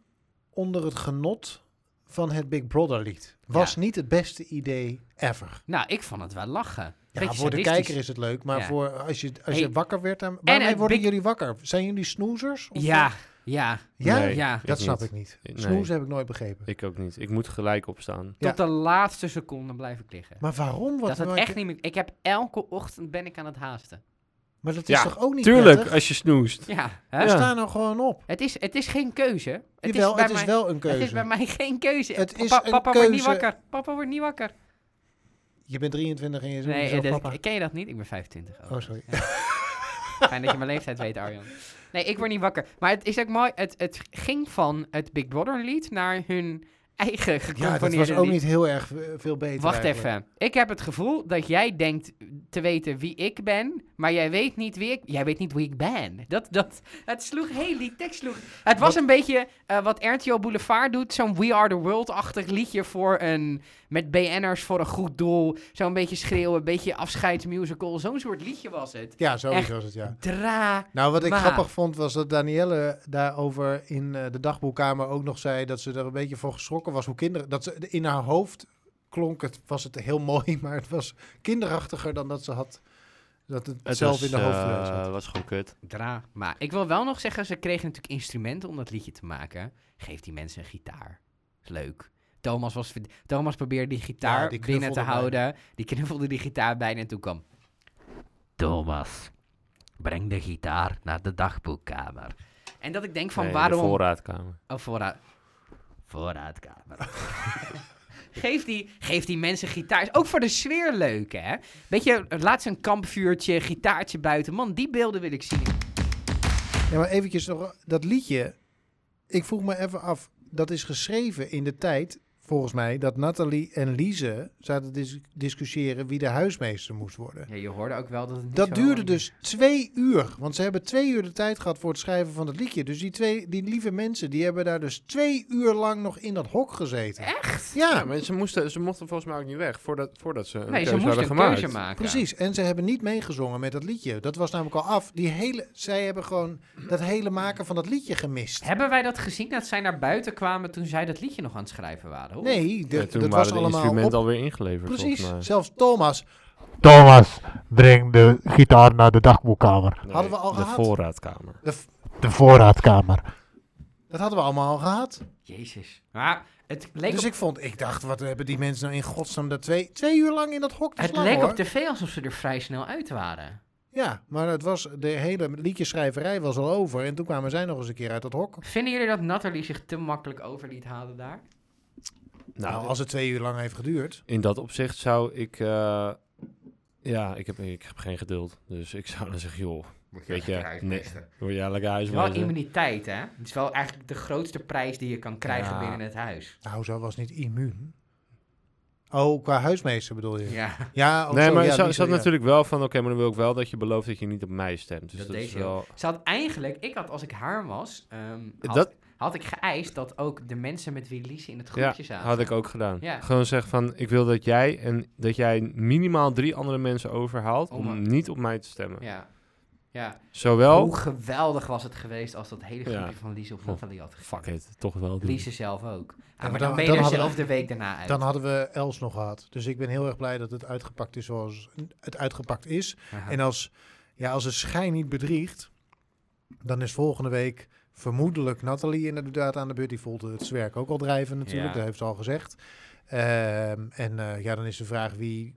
S3: onder het genot van het Big Brother lied. Was
S4: Ja.
S3: niet het beste idee ever.
S4: Nou, ik vond het wel lachen.
S3: Ja,
S4: Beetje
S3: voor de
S4: sadistisch.
S3: kijker is het leuk, maar
S4: Ja.
S3: voor als je, als
S4: Hey,
S3: je wakker werd... Dan, waarmee
S4: het
S3: worden
S4: Big-
S3: jullie wakker? Zijn jullie snoezers? of-
S4: Ja, ja.
S3: Ja?
S2: Nee,
S4: Ja.
S3: Dat snap
S2: niet.
S3: ik niet.
S2: Nee.
S3: Snoezen heb ik nooit begrepen.
S2: Ik ook niet. Ik moet gelijk opstaan.
S3: Ja.
S4: Tot de laatste seconde blijf ik liggen.
S3: Maar waarom? Wat
S4: dat het
S3: maak
S4: echt
S3: je-
S4: niet meer... Ik heb elke ochtend ben ik aan het haasten.
S3: Maar dat is
S2: Ja,
S3: toch ook niet
S2: Tuurlijk,
S3: prettig?
S2: als je snoest.
S4: Ja, hè?
S3: We
S2: Ja.
S3: staan nou gewoon op.
S4: Het, is, het is geen keuze. Het
S3: Jawel,
S4: is bij
S3: het is
S4: mij...
S3: wel een
S4: Het is bij
S3: keuze.
S4: mij geen keuze.
S3: Het is
S4: papa
S3: een
S4: papa wordt niet
S3: keuze.
S4: wakker. Papa wordt niet wakker.
S3: Je bent 23 en je zegt
S4: Nee,
S3: nee,
S4: dat-
S3: papa.
S4: ken je dat niet? Ik ben 25.
S3: Oh, sorry.
S4: Fijn dat je mijn leeftijd weet, Arjan. Nee, ik word niet wakker. Maar het is ook mooi. Het, het ging van het Big Brother lied naar hun eigen
S3: Ja,
S4: gecomponeerde
S3: dat was ook
S4: lied.
S3: niet heel erg eh, veel beter
S4: Wacht
S3: eigenlijk.
S4: even. Ik heb het gevoel dat jij denkt te weten wie ik ben, maar jij weet niet wie ik, jij weet niet wie ik ben. Dat, dat, het sloeg heel die tekst sloeg. Het was een beetje eh, wat RTL Boulevard doet, zo'n We Are the World-achtig liedje voor een met BN'ers voor een goed doel, zo'n beetje schreeuwen, een beetje afscheidsmusical, zo'n soort liedje was het.
S3: Ja, zoiets
S4: Echt.
S3: was het, ja.
S4: Dra.
S3: Nou, wat ik
S4: Maar-
S3: grappig vond was dat Danielle daarover in eh, de dagboekkamer ook nog zei dat ze er een beetje voor geschrokken was hoe kinderen. Dat ze in haar hoofd klonk het, was het heel mooi, maar het was kinderachtiger dan dat ze had Dat het,
S5: Het
S3: zelf
S5: was,
S3: in de hoofdlijn
S5: eh,
S3: zat.
S5: was gewoon kut.
S4: Drama. Ik wil wel nog zeggen, ze kregen natuurlijk instrumenten om dat liedje te maken. Geef die mensen een gitaar. Is leuk. Thomas, was, Thomas probeerde die gitaar
S3: Ja, die
S4: binnen te
S3: knuffelde
S4: houden. Die knuffelde die gitaar bijna en toen kwam... Thomas, breng de gitaar naar de dagboekkamer. En dat ik denk van
S2: Nee, De
S4: waarom...
S2: voorraadkamer.
S4: Oh, voorraad. Voorraadkamer. geef, die, geef die mensen gitaar. Is Ook voor de sfeer leuk, hè? Weet je, laatst een kampvuurtje, gitaartje buiten. Man, die beelden wil ik zien.
S3: Ja, maar eventjes nog, dat liedje. Ik vroeg me even af, dat is geschreven in de tijd, volgens mij, dat Nathalie en Lize zaten te dis- discussiëren wie de huismeester moest worden.
S4: Ja, je hoorde ook wel dat het niet
S3: Dat
S4: zo-
S3: duurde dus twee uur, want ze hebben twee uur de tijd gehad voor het schrijven van het liedje. Dus die, twee, die lieve mensen, die hebben daar dus twee uur lang nog in dat hok gezeten. Echt? Ja,
S2: Ja, maar ze, moesten, ze mochten volgens mij ook niet weg voordat, voordat ze een
S4: Nee, ze
S2: keuze
S4: moesten
S2: dus hadden
S4: een
S2: gemaakt.
S4: keuze maken.
S3: precies. En ze hebben niet meegezongen met dat liedje. Dat was namelijk al af. Die hele, zij hebben gewoon dat hele maken van dat liedje gemist.
S4: Hebben wij dat gezien dat zij naar buiten kwamen toen zij dat liedje nog aan het schrijven waren? Of-
S3: Nee, de-
S2: Ja,
S3: dat
S2: toen waren
S3: was
S2: de
S3: allemaal
S2: instrumenten
S3: op
S2: alweer ingeleverd.
S3: Precies,
S2: volgens mij.
S3: zelfs Thomas
S6: Thomas, breng de gitaar naar de dagboekkamer.
S2: Nee,
S3: Hadden we al
S2: de
S3: gehad?
S2: voorraadkamer.
S3: De f-
S6: De voorraadkamer.
S3: dat hadden we allemaal al gehad.
S4: Jezus. Maar het leek,
S3: dus
S4: op,
S3: ik vond, ik dacht, wat hebben die mensen nou in godsnaam daar twee, twee uur lang in dat hok te
S4: het
S3: slaan,
S4: leek
S3: hoor.
S4: op tv alsof ze er vrij snel uit waren.
S3: Ja, maar het was, de hele liedjeschrijverij was al over. En toen kwamen zij nog eens een keer uit dat hok.
S2: Nou,
S4: Vinden jullie dat Nathalie zich te makkelijk over liet halen daar?
S3: Nou,
S2: Nou,
S3: als het twee uur lang heeft geduurd.
S2: in dat opzicht zou ik... eh, ja, ik heb, ik heb geen geduld. Dus ik zou dan zeggen, joh,
S4: Moet
S2: Weet je, nee. word jij lekker
S4: Wel
S2: huismeester?
S4: immuniteit, hè? Het is wel eigenlijk de grootste prijs die je kan krijgen
S2: Ja.
S4: binnen het huis.
S3: Nou, zo was niet immuun. Oh, qua huismeester bedoel je? Ja,
S4: Ja,
S3: oh,
S2: Nee,
S3: zo,
S2: maar
S3: ja,
S2: ze
S3: die
S2: zat
S3: zo, ja.
S2: natuurlijk wel van, oké, maar dan wil ik wel dat je belooft dat je niet op mij stemt. Dus
S4: Dat
S2: dat,
S4: deed
S2: is
S4: ze ook.
S2: wel...
S4: ze had eigenlijk, ik had als ik haar was, ehm, had,
S2: Dat-
S4: had ik geëist dat ook de mensen met wie Lise in het
S2: Ja,
S4: groepje zaten.
S2: had ik ook gedaan.
S4: Ja.
S2: Gewoon zeggen van, ik wil dat jij en dat jij minimaal drie andere mensen overhaalt
S4: Om
S2: om,
S4: een-
S2: niet op mij te stemmen.
S4: Oh, Ja. ja.
S2: Zowel...
S4: Hoe geweldig was het geweest als dat hele groepje
S2: Ja.
S4: van Lise op
S2: Oh,
S4: Nathalie had gegeven.
S2: Fuck it, toch wel doen.
S4: Lise zelf ook. Ah, maar
S3: Hm. maar
S4: dan,
S3: dan-
S4: ben je
S3: dan
S4: er
S3: hadden
S4: zelf de
S3: we-
S4: week daarna uit.
S3: Dan hadden we Els nog gehad. Dus ik ben heel erg blij dat het uitgepakt is zoals het uitgepakt is.
S4: Aha.
S3: En als, ja, als de schijn niet bedriegt, dan is volgende week vermoedelijk Nathalie inderdaad aan de beurt. Die voelt het zwerk ook al drijven natuurlijk,
S4: Ja.
S3: dat heeft ze al gezegd. Ehm, en eh, ja, dan is de vraag wie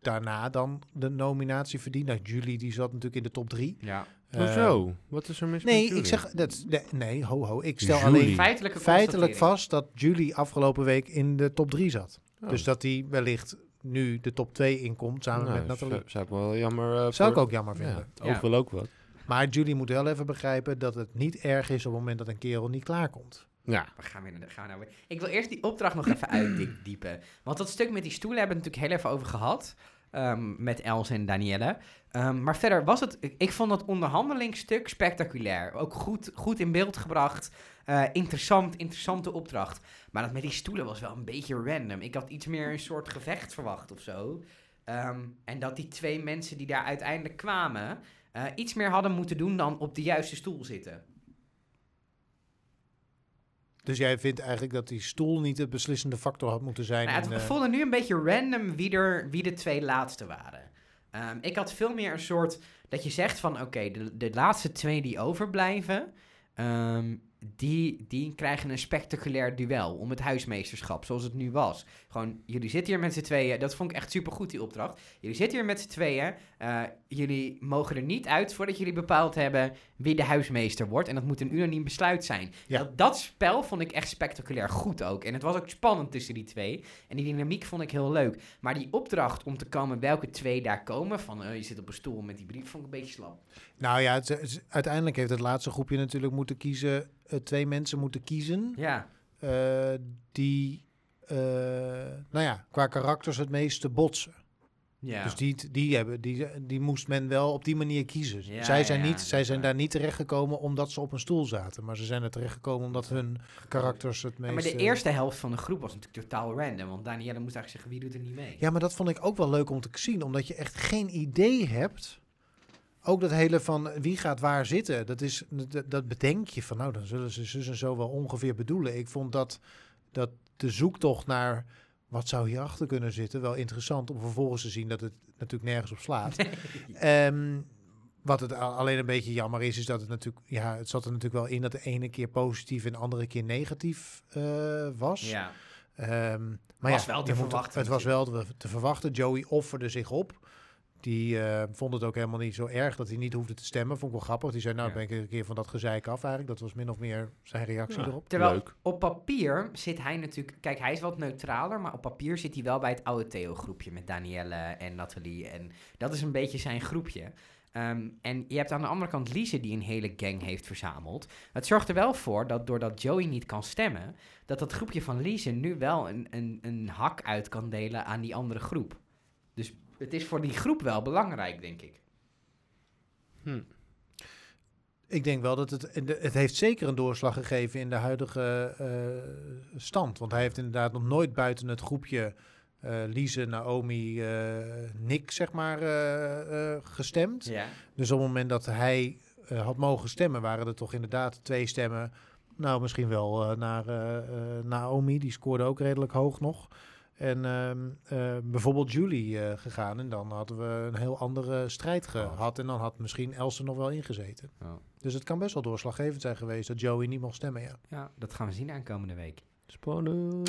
S3: daarna dan de nominatie verdient. Nou, Julie die zat natuurlijk in de top drie. Ehm,
S4: Ja.
S2: Hoezo? Eh, Wat is er mis met
S3: nee, ik
S2: Jury?
S3: zeg, dat, nee, nee, ho ho, ik stel
S2: Julie.
S3: alleen
S4: Feitelijke
S3: feitelijk
S4: constatering.
S3: vast dat Julie afgelopen week in de top drie zat.
S2: Oh.
S3: Dus dat die wellicht nu de top 2 inkomt samen
S2: Nou,
S3: met Nathalie.
S2: Zou, zou ik wel jammer eh,
S3: Zou ik
S2: voor-
S3: ook jammer vinden.
S2: Ja, het
S4: Ja.
S2: oog wil ook wat.
S3: Maar Julie moet wel even begrijpen dat het niet erg is op het moment dat een kerel niet klaarkomt.
S2: Ja.
S4: We gaan weer naar de- gaan we nou weer. Ik wil eerst die opdracht nog even uitdiepen. Want dat stuk met die stoelen hebben we het natuurlijk heel even over gehad. ehm, met Els en Danielle. Ehm, maar verder was het. Ik, ik vond dat onderhandelingsstuk spectaculair. Ook goed, goed in beeld gebracht. Eh, interessant, interessante opdracht. Maar dat met die stoelen was wel een beetje random. Ik had iets meer een soort gevecht verwacht of zo. Ehm, en dat die twee mensen die daar uiteindelijk kwamen. eh, iets meer hadden moeten doen dan op de juiste stoel zitten.
S3: Dus jij vindt eigenlijk dat die stoel niet het beslissende factor had moeten zijn.
S4: Nou,
S3: in,
S4: het
S3: eh,
S4: voelde nu een beetje random wie, er, wie de twee laatste waren. Ehm, ik had veel meer een soort dat je zegt van oké, de, de laatste twee die overblijven, ehm, die, die krijgen een spectaculair duel om het huismeesterschap, zoals het nu was. Gewoon, jullie zitten hier met z'n tweeën, dat vond ik echt supergoed die opdracht. Jullie zitten hier met z'n tweeën, eh, jullie mogen er niet uit voordat jullie bepaald hebben wie de huismeester wordt. En dat moet een unaniem besluit zijn.
S3: Ja.
S4: Dat, dat spel vond ik echt spectaculair goed ook. En het was ook spannend tussen die twee. En die dynamiek vond ik heel leuk. Maar die opdracht om te komen welke twee daar komen, van eh, je zit op een stoel met die brief, vond ik een beetje slap.
S3: nou ja, het is- uiteindelijk heeft het laatste groepje natuurlijk moeten kiezen. eh, twee mensen moeten kiezen
S4: Ja,
S3: eh, die, eh, nou ja, qua karakters het meeste botsen.
S4: ja.
S3: Dus die, die, hebben, die, die moest men wel op die manier kiezen.
S4: Ja,
S3: zij
S4: ja,
S3: zijn,
S4: ja,
S3: niet, zij
S4: dat
S3: zijn
S4: waar.
S3: daar niet terechtgekomen omdat ze op een stoel zaten. Maar ze zijn er terechtgekomen omdat hun karakters het meest...
S4: Ja, maar de eerste helft van de groep was natuurlijk totaal random. Want Danielle moest eigenlijk zeggen, wie doet er niet mee?
S3: Ja, maar dat vond ik ook wel leuk om te zien. Omdat je echt geen idee hebt. Ook dat hele van eh, wie gaat waar zitten. Dat, is, dat, dat bedenk je van nou, dan zullen ze zus en zo wel ongeveer bedoelen. Ik vond dat, dat de zoektocht naar... wat zou hierachter kunnen zitten? Wel interessant om vervolgens te zien dat het natuurlijk nergens op slaat. Ehm, wat het a- alleen een beetje jammer is, is dat het natuurlijk, ja, het zat er natuurlijk wel in dat de ene keer positief en de andere keer negatief eh, was.
S4: Ja.
S3: Ehm, maar
S4: Was
S3: ja,
S4: wel te
S3: je moet-
S4: verwachten
S3: Het was wel te- te verwachten. Joey offerde zich op. Die eh, vond het ook helemaal niet zo erg dat hij niet hoefde te stemmen. Vond ik wel grappig. Die zei, nou
S4: Ja.
S3: ben ik een keer van dat gezeik af eigenlijk. Dat was min of meer zijn reactie
S2: Ja.
S3: erop.
S4: Terwijl
S2: Leuk.
S4: op papier zit hij natuurlijk... Kijk, hij is wat neutraler, maar op papier zit hij wel bij het oude Theo-groepje met Danielle en Nathalie. En dat is een beetje zijn groepje. Ehm, en je hebt aan de andere kant Lise die een hele gang heeft verzameld. Het zorgt er wel voor dat doordat Joey niet kan stemmen... dat dat groepje van Lise nu wel een, een, een hak uit kan delen aan die andere groep. Dus het is voor die groep wel belangrijk, denk ik.
S3: Ik denk wel dat het... en de- Het heeft zeker een doorslag gegeven in de huidige eh, stand. Want hij heeft inderdaad nog nooit buiten het groepje... eh Lise, Naomi, eh, Nick, zeg maar, eh, eh, gestemd.
S4: Ja.
S3: Dus op het moment dat hij eh, had mogen stemmen, waren er toch inderdaad twee stemmen. Nou, misschien wel eh, naar eh, eh, Naomi, die scoorde ook redelijk hoog nog. En ehm, eh, bijvoorbeeld Julie eh, gegaan. En dan hadden we een heel andere strijd gehad. En dan had misschien Elsa nog wel ingezeten.
S4: Oh.
S3: Dus het kan best wel doorslaggevend zijn geweest dat Joey niet mocht stemmen. Ja.
S4: ja, dat gaan we zien aankomende week.
S2: Spannend.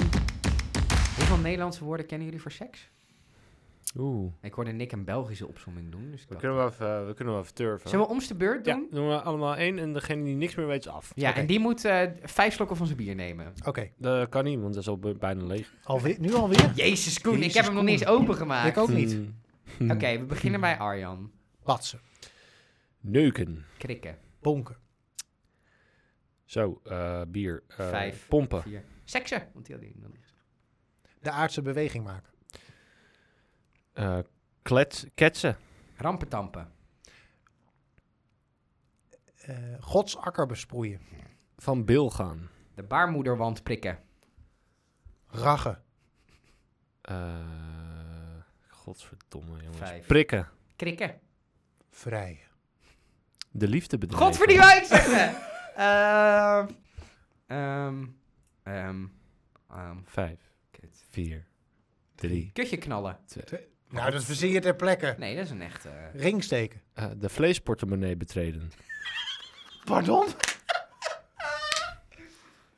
S4: Hoeveel Nederlandse woorden kennen jullie voor seks?
S2: Oeh.
S4: Ik hoorde Nick een Belgische opzomming doen. Dus ik
S2: We
S4: dacht-
S2: kunnen wel even, eh, we kunnen wel even turven.
S4: Zullen we om de beurt doen?
S2: Ja, doen we allemaal één en degene die niks meer weet is af.
S4: Ja, en die moet eh, vijf slokken van zijn bier nemen.
S3: Oké,
S2: Dat kan niet, want dat is al bij- bijna leeg.
S3: alweer, nu alweer?
S4: Jezus Koen, ik
S3: Jezus,
S4: heb hem nog niet eens
S3: Koen.
S4: opengemaakt.
S3: Ik ook niet.
S2: Hmm.
S4: Oké, we beginnen bij Arjan.
S3: Batsen,
S2: Neuken.
S4: Krikken.
S3: bonken,
S2: Zo, eh, bier. Eh,
S4: Vijf.
S3: Oh.
S2: Pompen.
S4: Vier. Seksen. Want die had hij nog niet gezegd.
S3: de aardse beweging maken,
S2: Eh, klets, ketsen.
S4: Rampentampen.
S3: Eh Gods akker besproeien,
S2: Van bil gaan.
S4: De baarmoederwand prikken.
S3: raggen,
S2: Eh, godverdomme, jongens.
S4: Vijf.
S2: Prikken.
S4: Krikken.
S3: vrijen,
S2: De liefde bedrijven.
S4: Godverdikke wou ik zeggen! Ehm, ehm, ehm, ehm,
S2: Vijf,
S4: kut.
S2: vier, drie.
S4: Kutje knallen.
S3: Nou, dat verzin je ter plekke.
S4: Nee, dat is een echte...
S3: Ringsteken.
S2: Eh, de vleesportemonnee betreden.
S3: Pardon?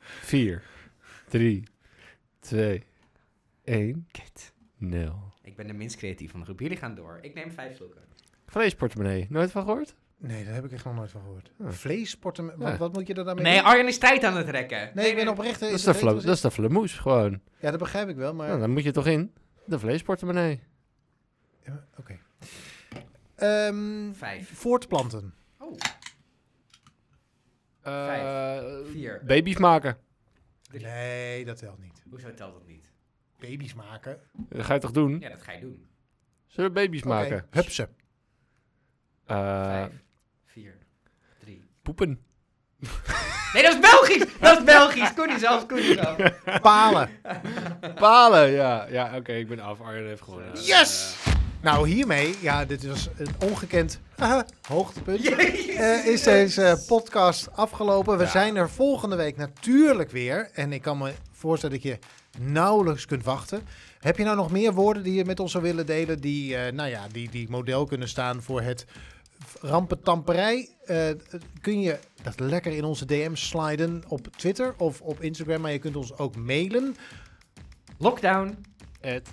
S2: Vier, drie, twee, één. Nul.
S4: Ik ben de minst creatief van de groep. Jullie gaan door. Ik neem vijf slokken.
S2: Vleesportemonnee. Nooit van gehoord?
S3: Nee, daar heb ik echt nog nooit van gehoord.
S2: Huh.
S3: Vleesportem.
S2: Hm. Ja.
S3: Wat, wat moet je er dan mee
S4: Nee,
S3: doen?
S4: Arjan is tijd aan het rekken.
S3: nee, ik ben oprecht.
S2: Dat is, de fla- dat is de flamoes,
S4: Oh
S2: gewoon.
S3: Ja, dat begrijp ik wel, maar...
S2: Nou, dan moet je toch in. De vleesportemonnee.
S3: Ja, Oké. Ehm,
S4: Vijf.
S3: voortplanten.
S4: Oh,
S2: Eh,
S4: Vijf, vier.
S2: Baby's maken.
S4: Drie.
S3: Nee, dat telt niet.
S4: hoezo telt dat niet?
S3: Baby's maken.
S2: Dat ga je toch doen?
S4: Ja, dat ga je doen.
S2: Zullen we baby's
S3: Oké.
S2: maken?
S3: Hupsen.
S2: Eh,
S4: Vijf, vier, drie.
S2: poepen.
S4: Nee, dat is Belgisch! Dat is Belgisch! Koen is af, Koen is af.
S3: Palen.
S2: Palen, ja. Ja, oké, ik ben af. Arjen heeft gewonnen.
S3: Yes! Nou, hiermee, ja, dit was een ongekend haha, hoogtepunt. Eh, is deze eh, podcast afgelopen. We
S2: Ja.
S3: zijn er volgende week natuurlijk weer. En ik kan me voorstellen dat je nauwelijks kunt wachten. Heb je nou nog meer woorden die je met ons zou willen delen? Die, eh, nou ja, die, die model kunnen staan voor het rampentamperij? Eh, kun je dat lekker in onze DM sliden op Twitter of op Instagram? Maar je kunt ons ook mailen.
S4: Lockdown,
S2: Eh, Ed.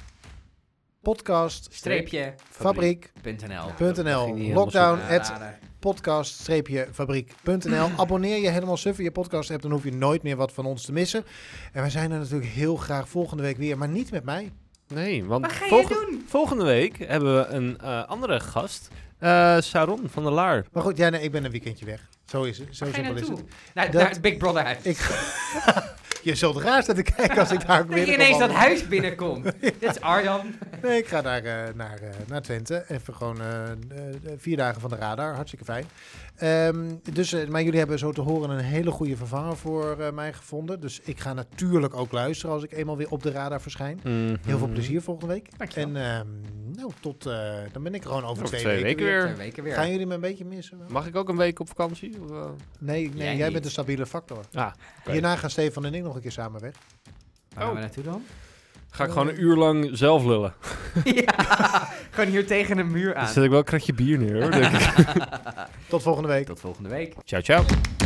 S3: Podcast
S4: streepje,
S3: fabriek.nl
S4: .nl.
S2: ging niet helemaal
S3: Lockdown
S2: zo.
S3: at podcast-fabriek.nl. Abonneer je helemaal suf in je podcast app, dan hoef je nooit meer wat van ons te missen. En wij zijn er natuurlijk heel graag volgende week weer, maar niet met mij.
S2: Nee, want
S4: Wat ga je
S2: volge-
S4: doen?
S2: volgende week hebben we een eh, andere gast. Eh, Sharon van der Laar.
S3: Maar goed, ja, nee, ik ben een weekendje weg. Zo is het. Zo
S4: Waar ga je
S3: simpel is het.
S4: naartoe? Naar,
S3: Dat-
S4: naar het Big Brother huis.
S3: Ik, je zult raar staan te kijken als ik daar ook
S4: Dat
S3: weer
S4: je ineens dat huis binnenkomt. Dit is Arjan.
S3: Nee, ik ga naar, eh, naar, eh, naar Twente. Even gewoon eh, eh, vier dagen van de radar. Hartstikke fijn. Ehm, dus, eh, maar jullie hebben zo te horen een hele goede vervanger voor eh, mij gevonden. Dus ik ga natuurlijk ook luisteren als ik eenmaal weer op de radar verschijn.
S4: Mm-hmm.
S3: Heel veel plezier volgende week.
S4: Dankjewel.
S3: En ehm, nou, tot, eh, dan ben ik er gewoon over,
S2: Over
S3: twee,
S2: twee
S3: weken,
S2: weken
S3: weer.
S4: Twee
S2: Weer.
S4: weken weer.
S3: Gaan jullie me een beetje missen? wel?
S2: Mag ik ook een week op vakantie? Of, eh?
S3: Nee, nee
S4: Jij
S3: jij,
S4: niet.
S3: bent een stabiele factor.
S2: Ah, Oké.
S3: Hierna gaan Stefan en ik nog een keer samen weg.
S4: Waar gaan we naartoe dan?
S2: Ga ik gewoon een uur lang zelf lullen.
S4: ja, gewoon hier tegen een muur
S2: Dan
S4: aan.
S2: zet ik wel een kratje bier neer hoor, denk ik.
S3: Tot volgende week.
S4: Tot volgende week.
S2: Ciao, ciao.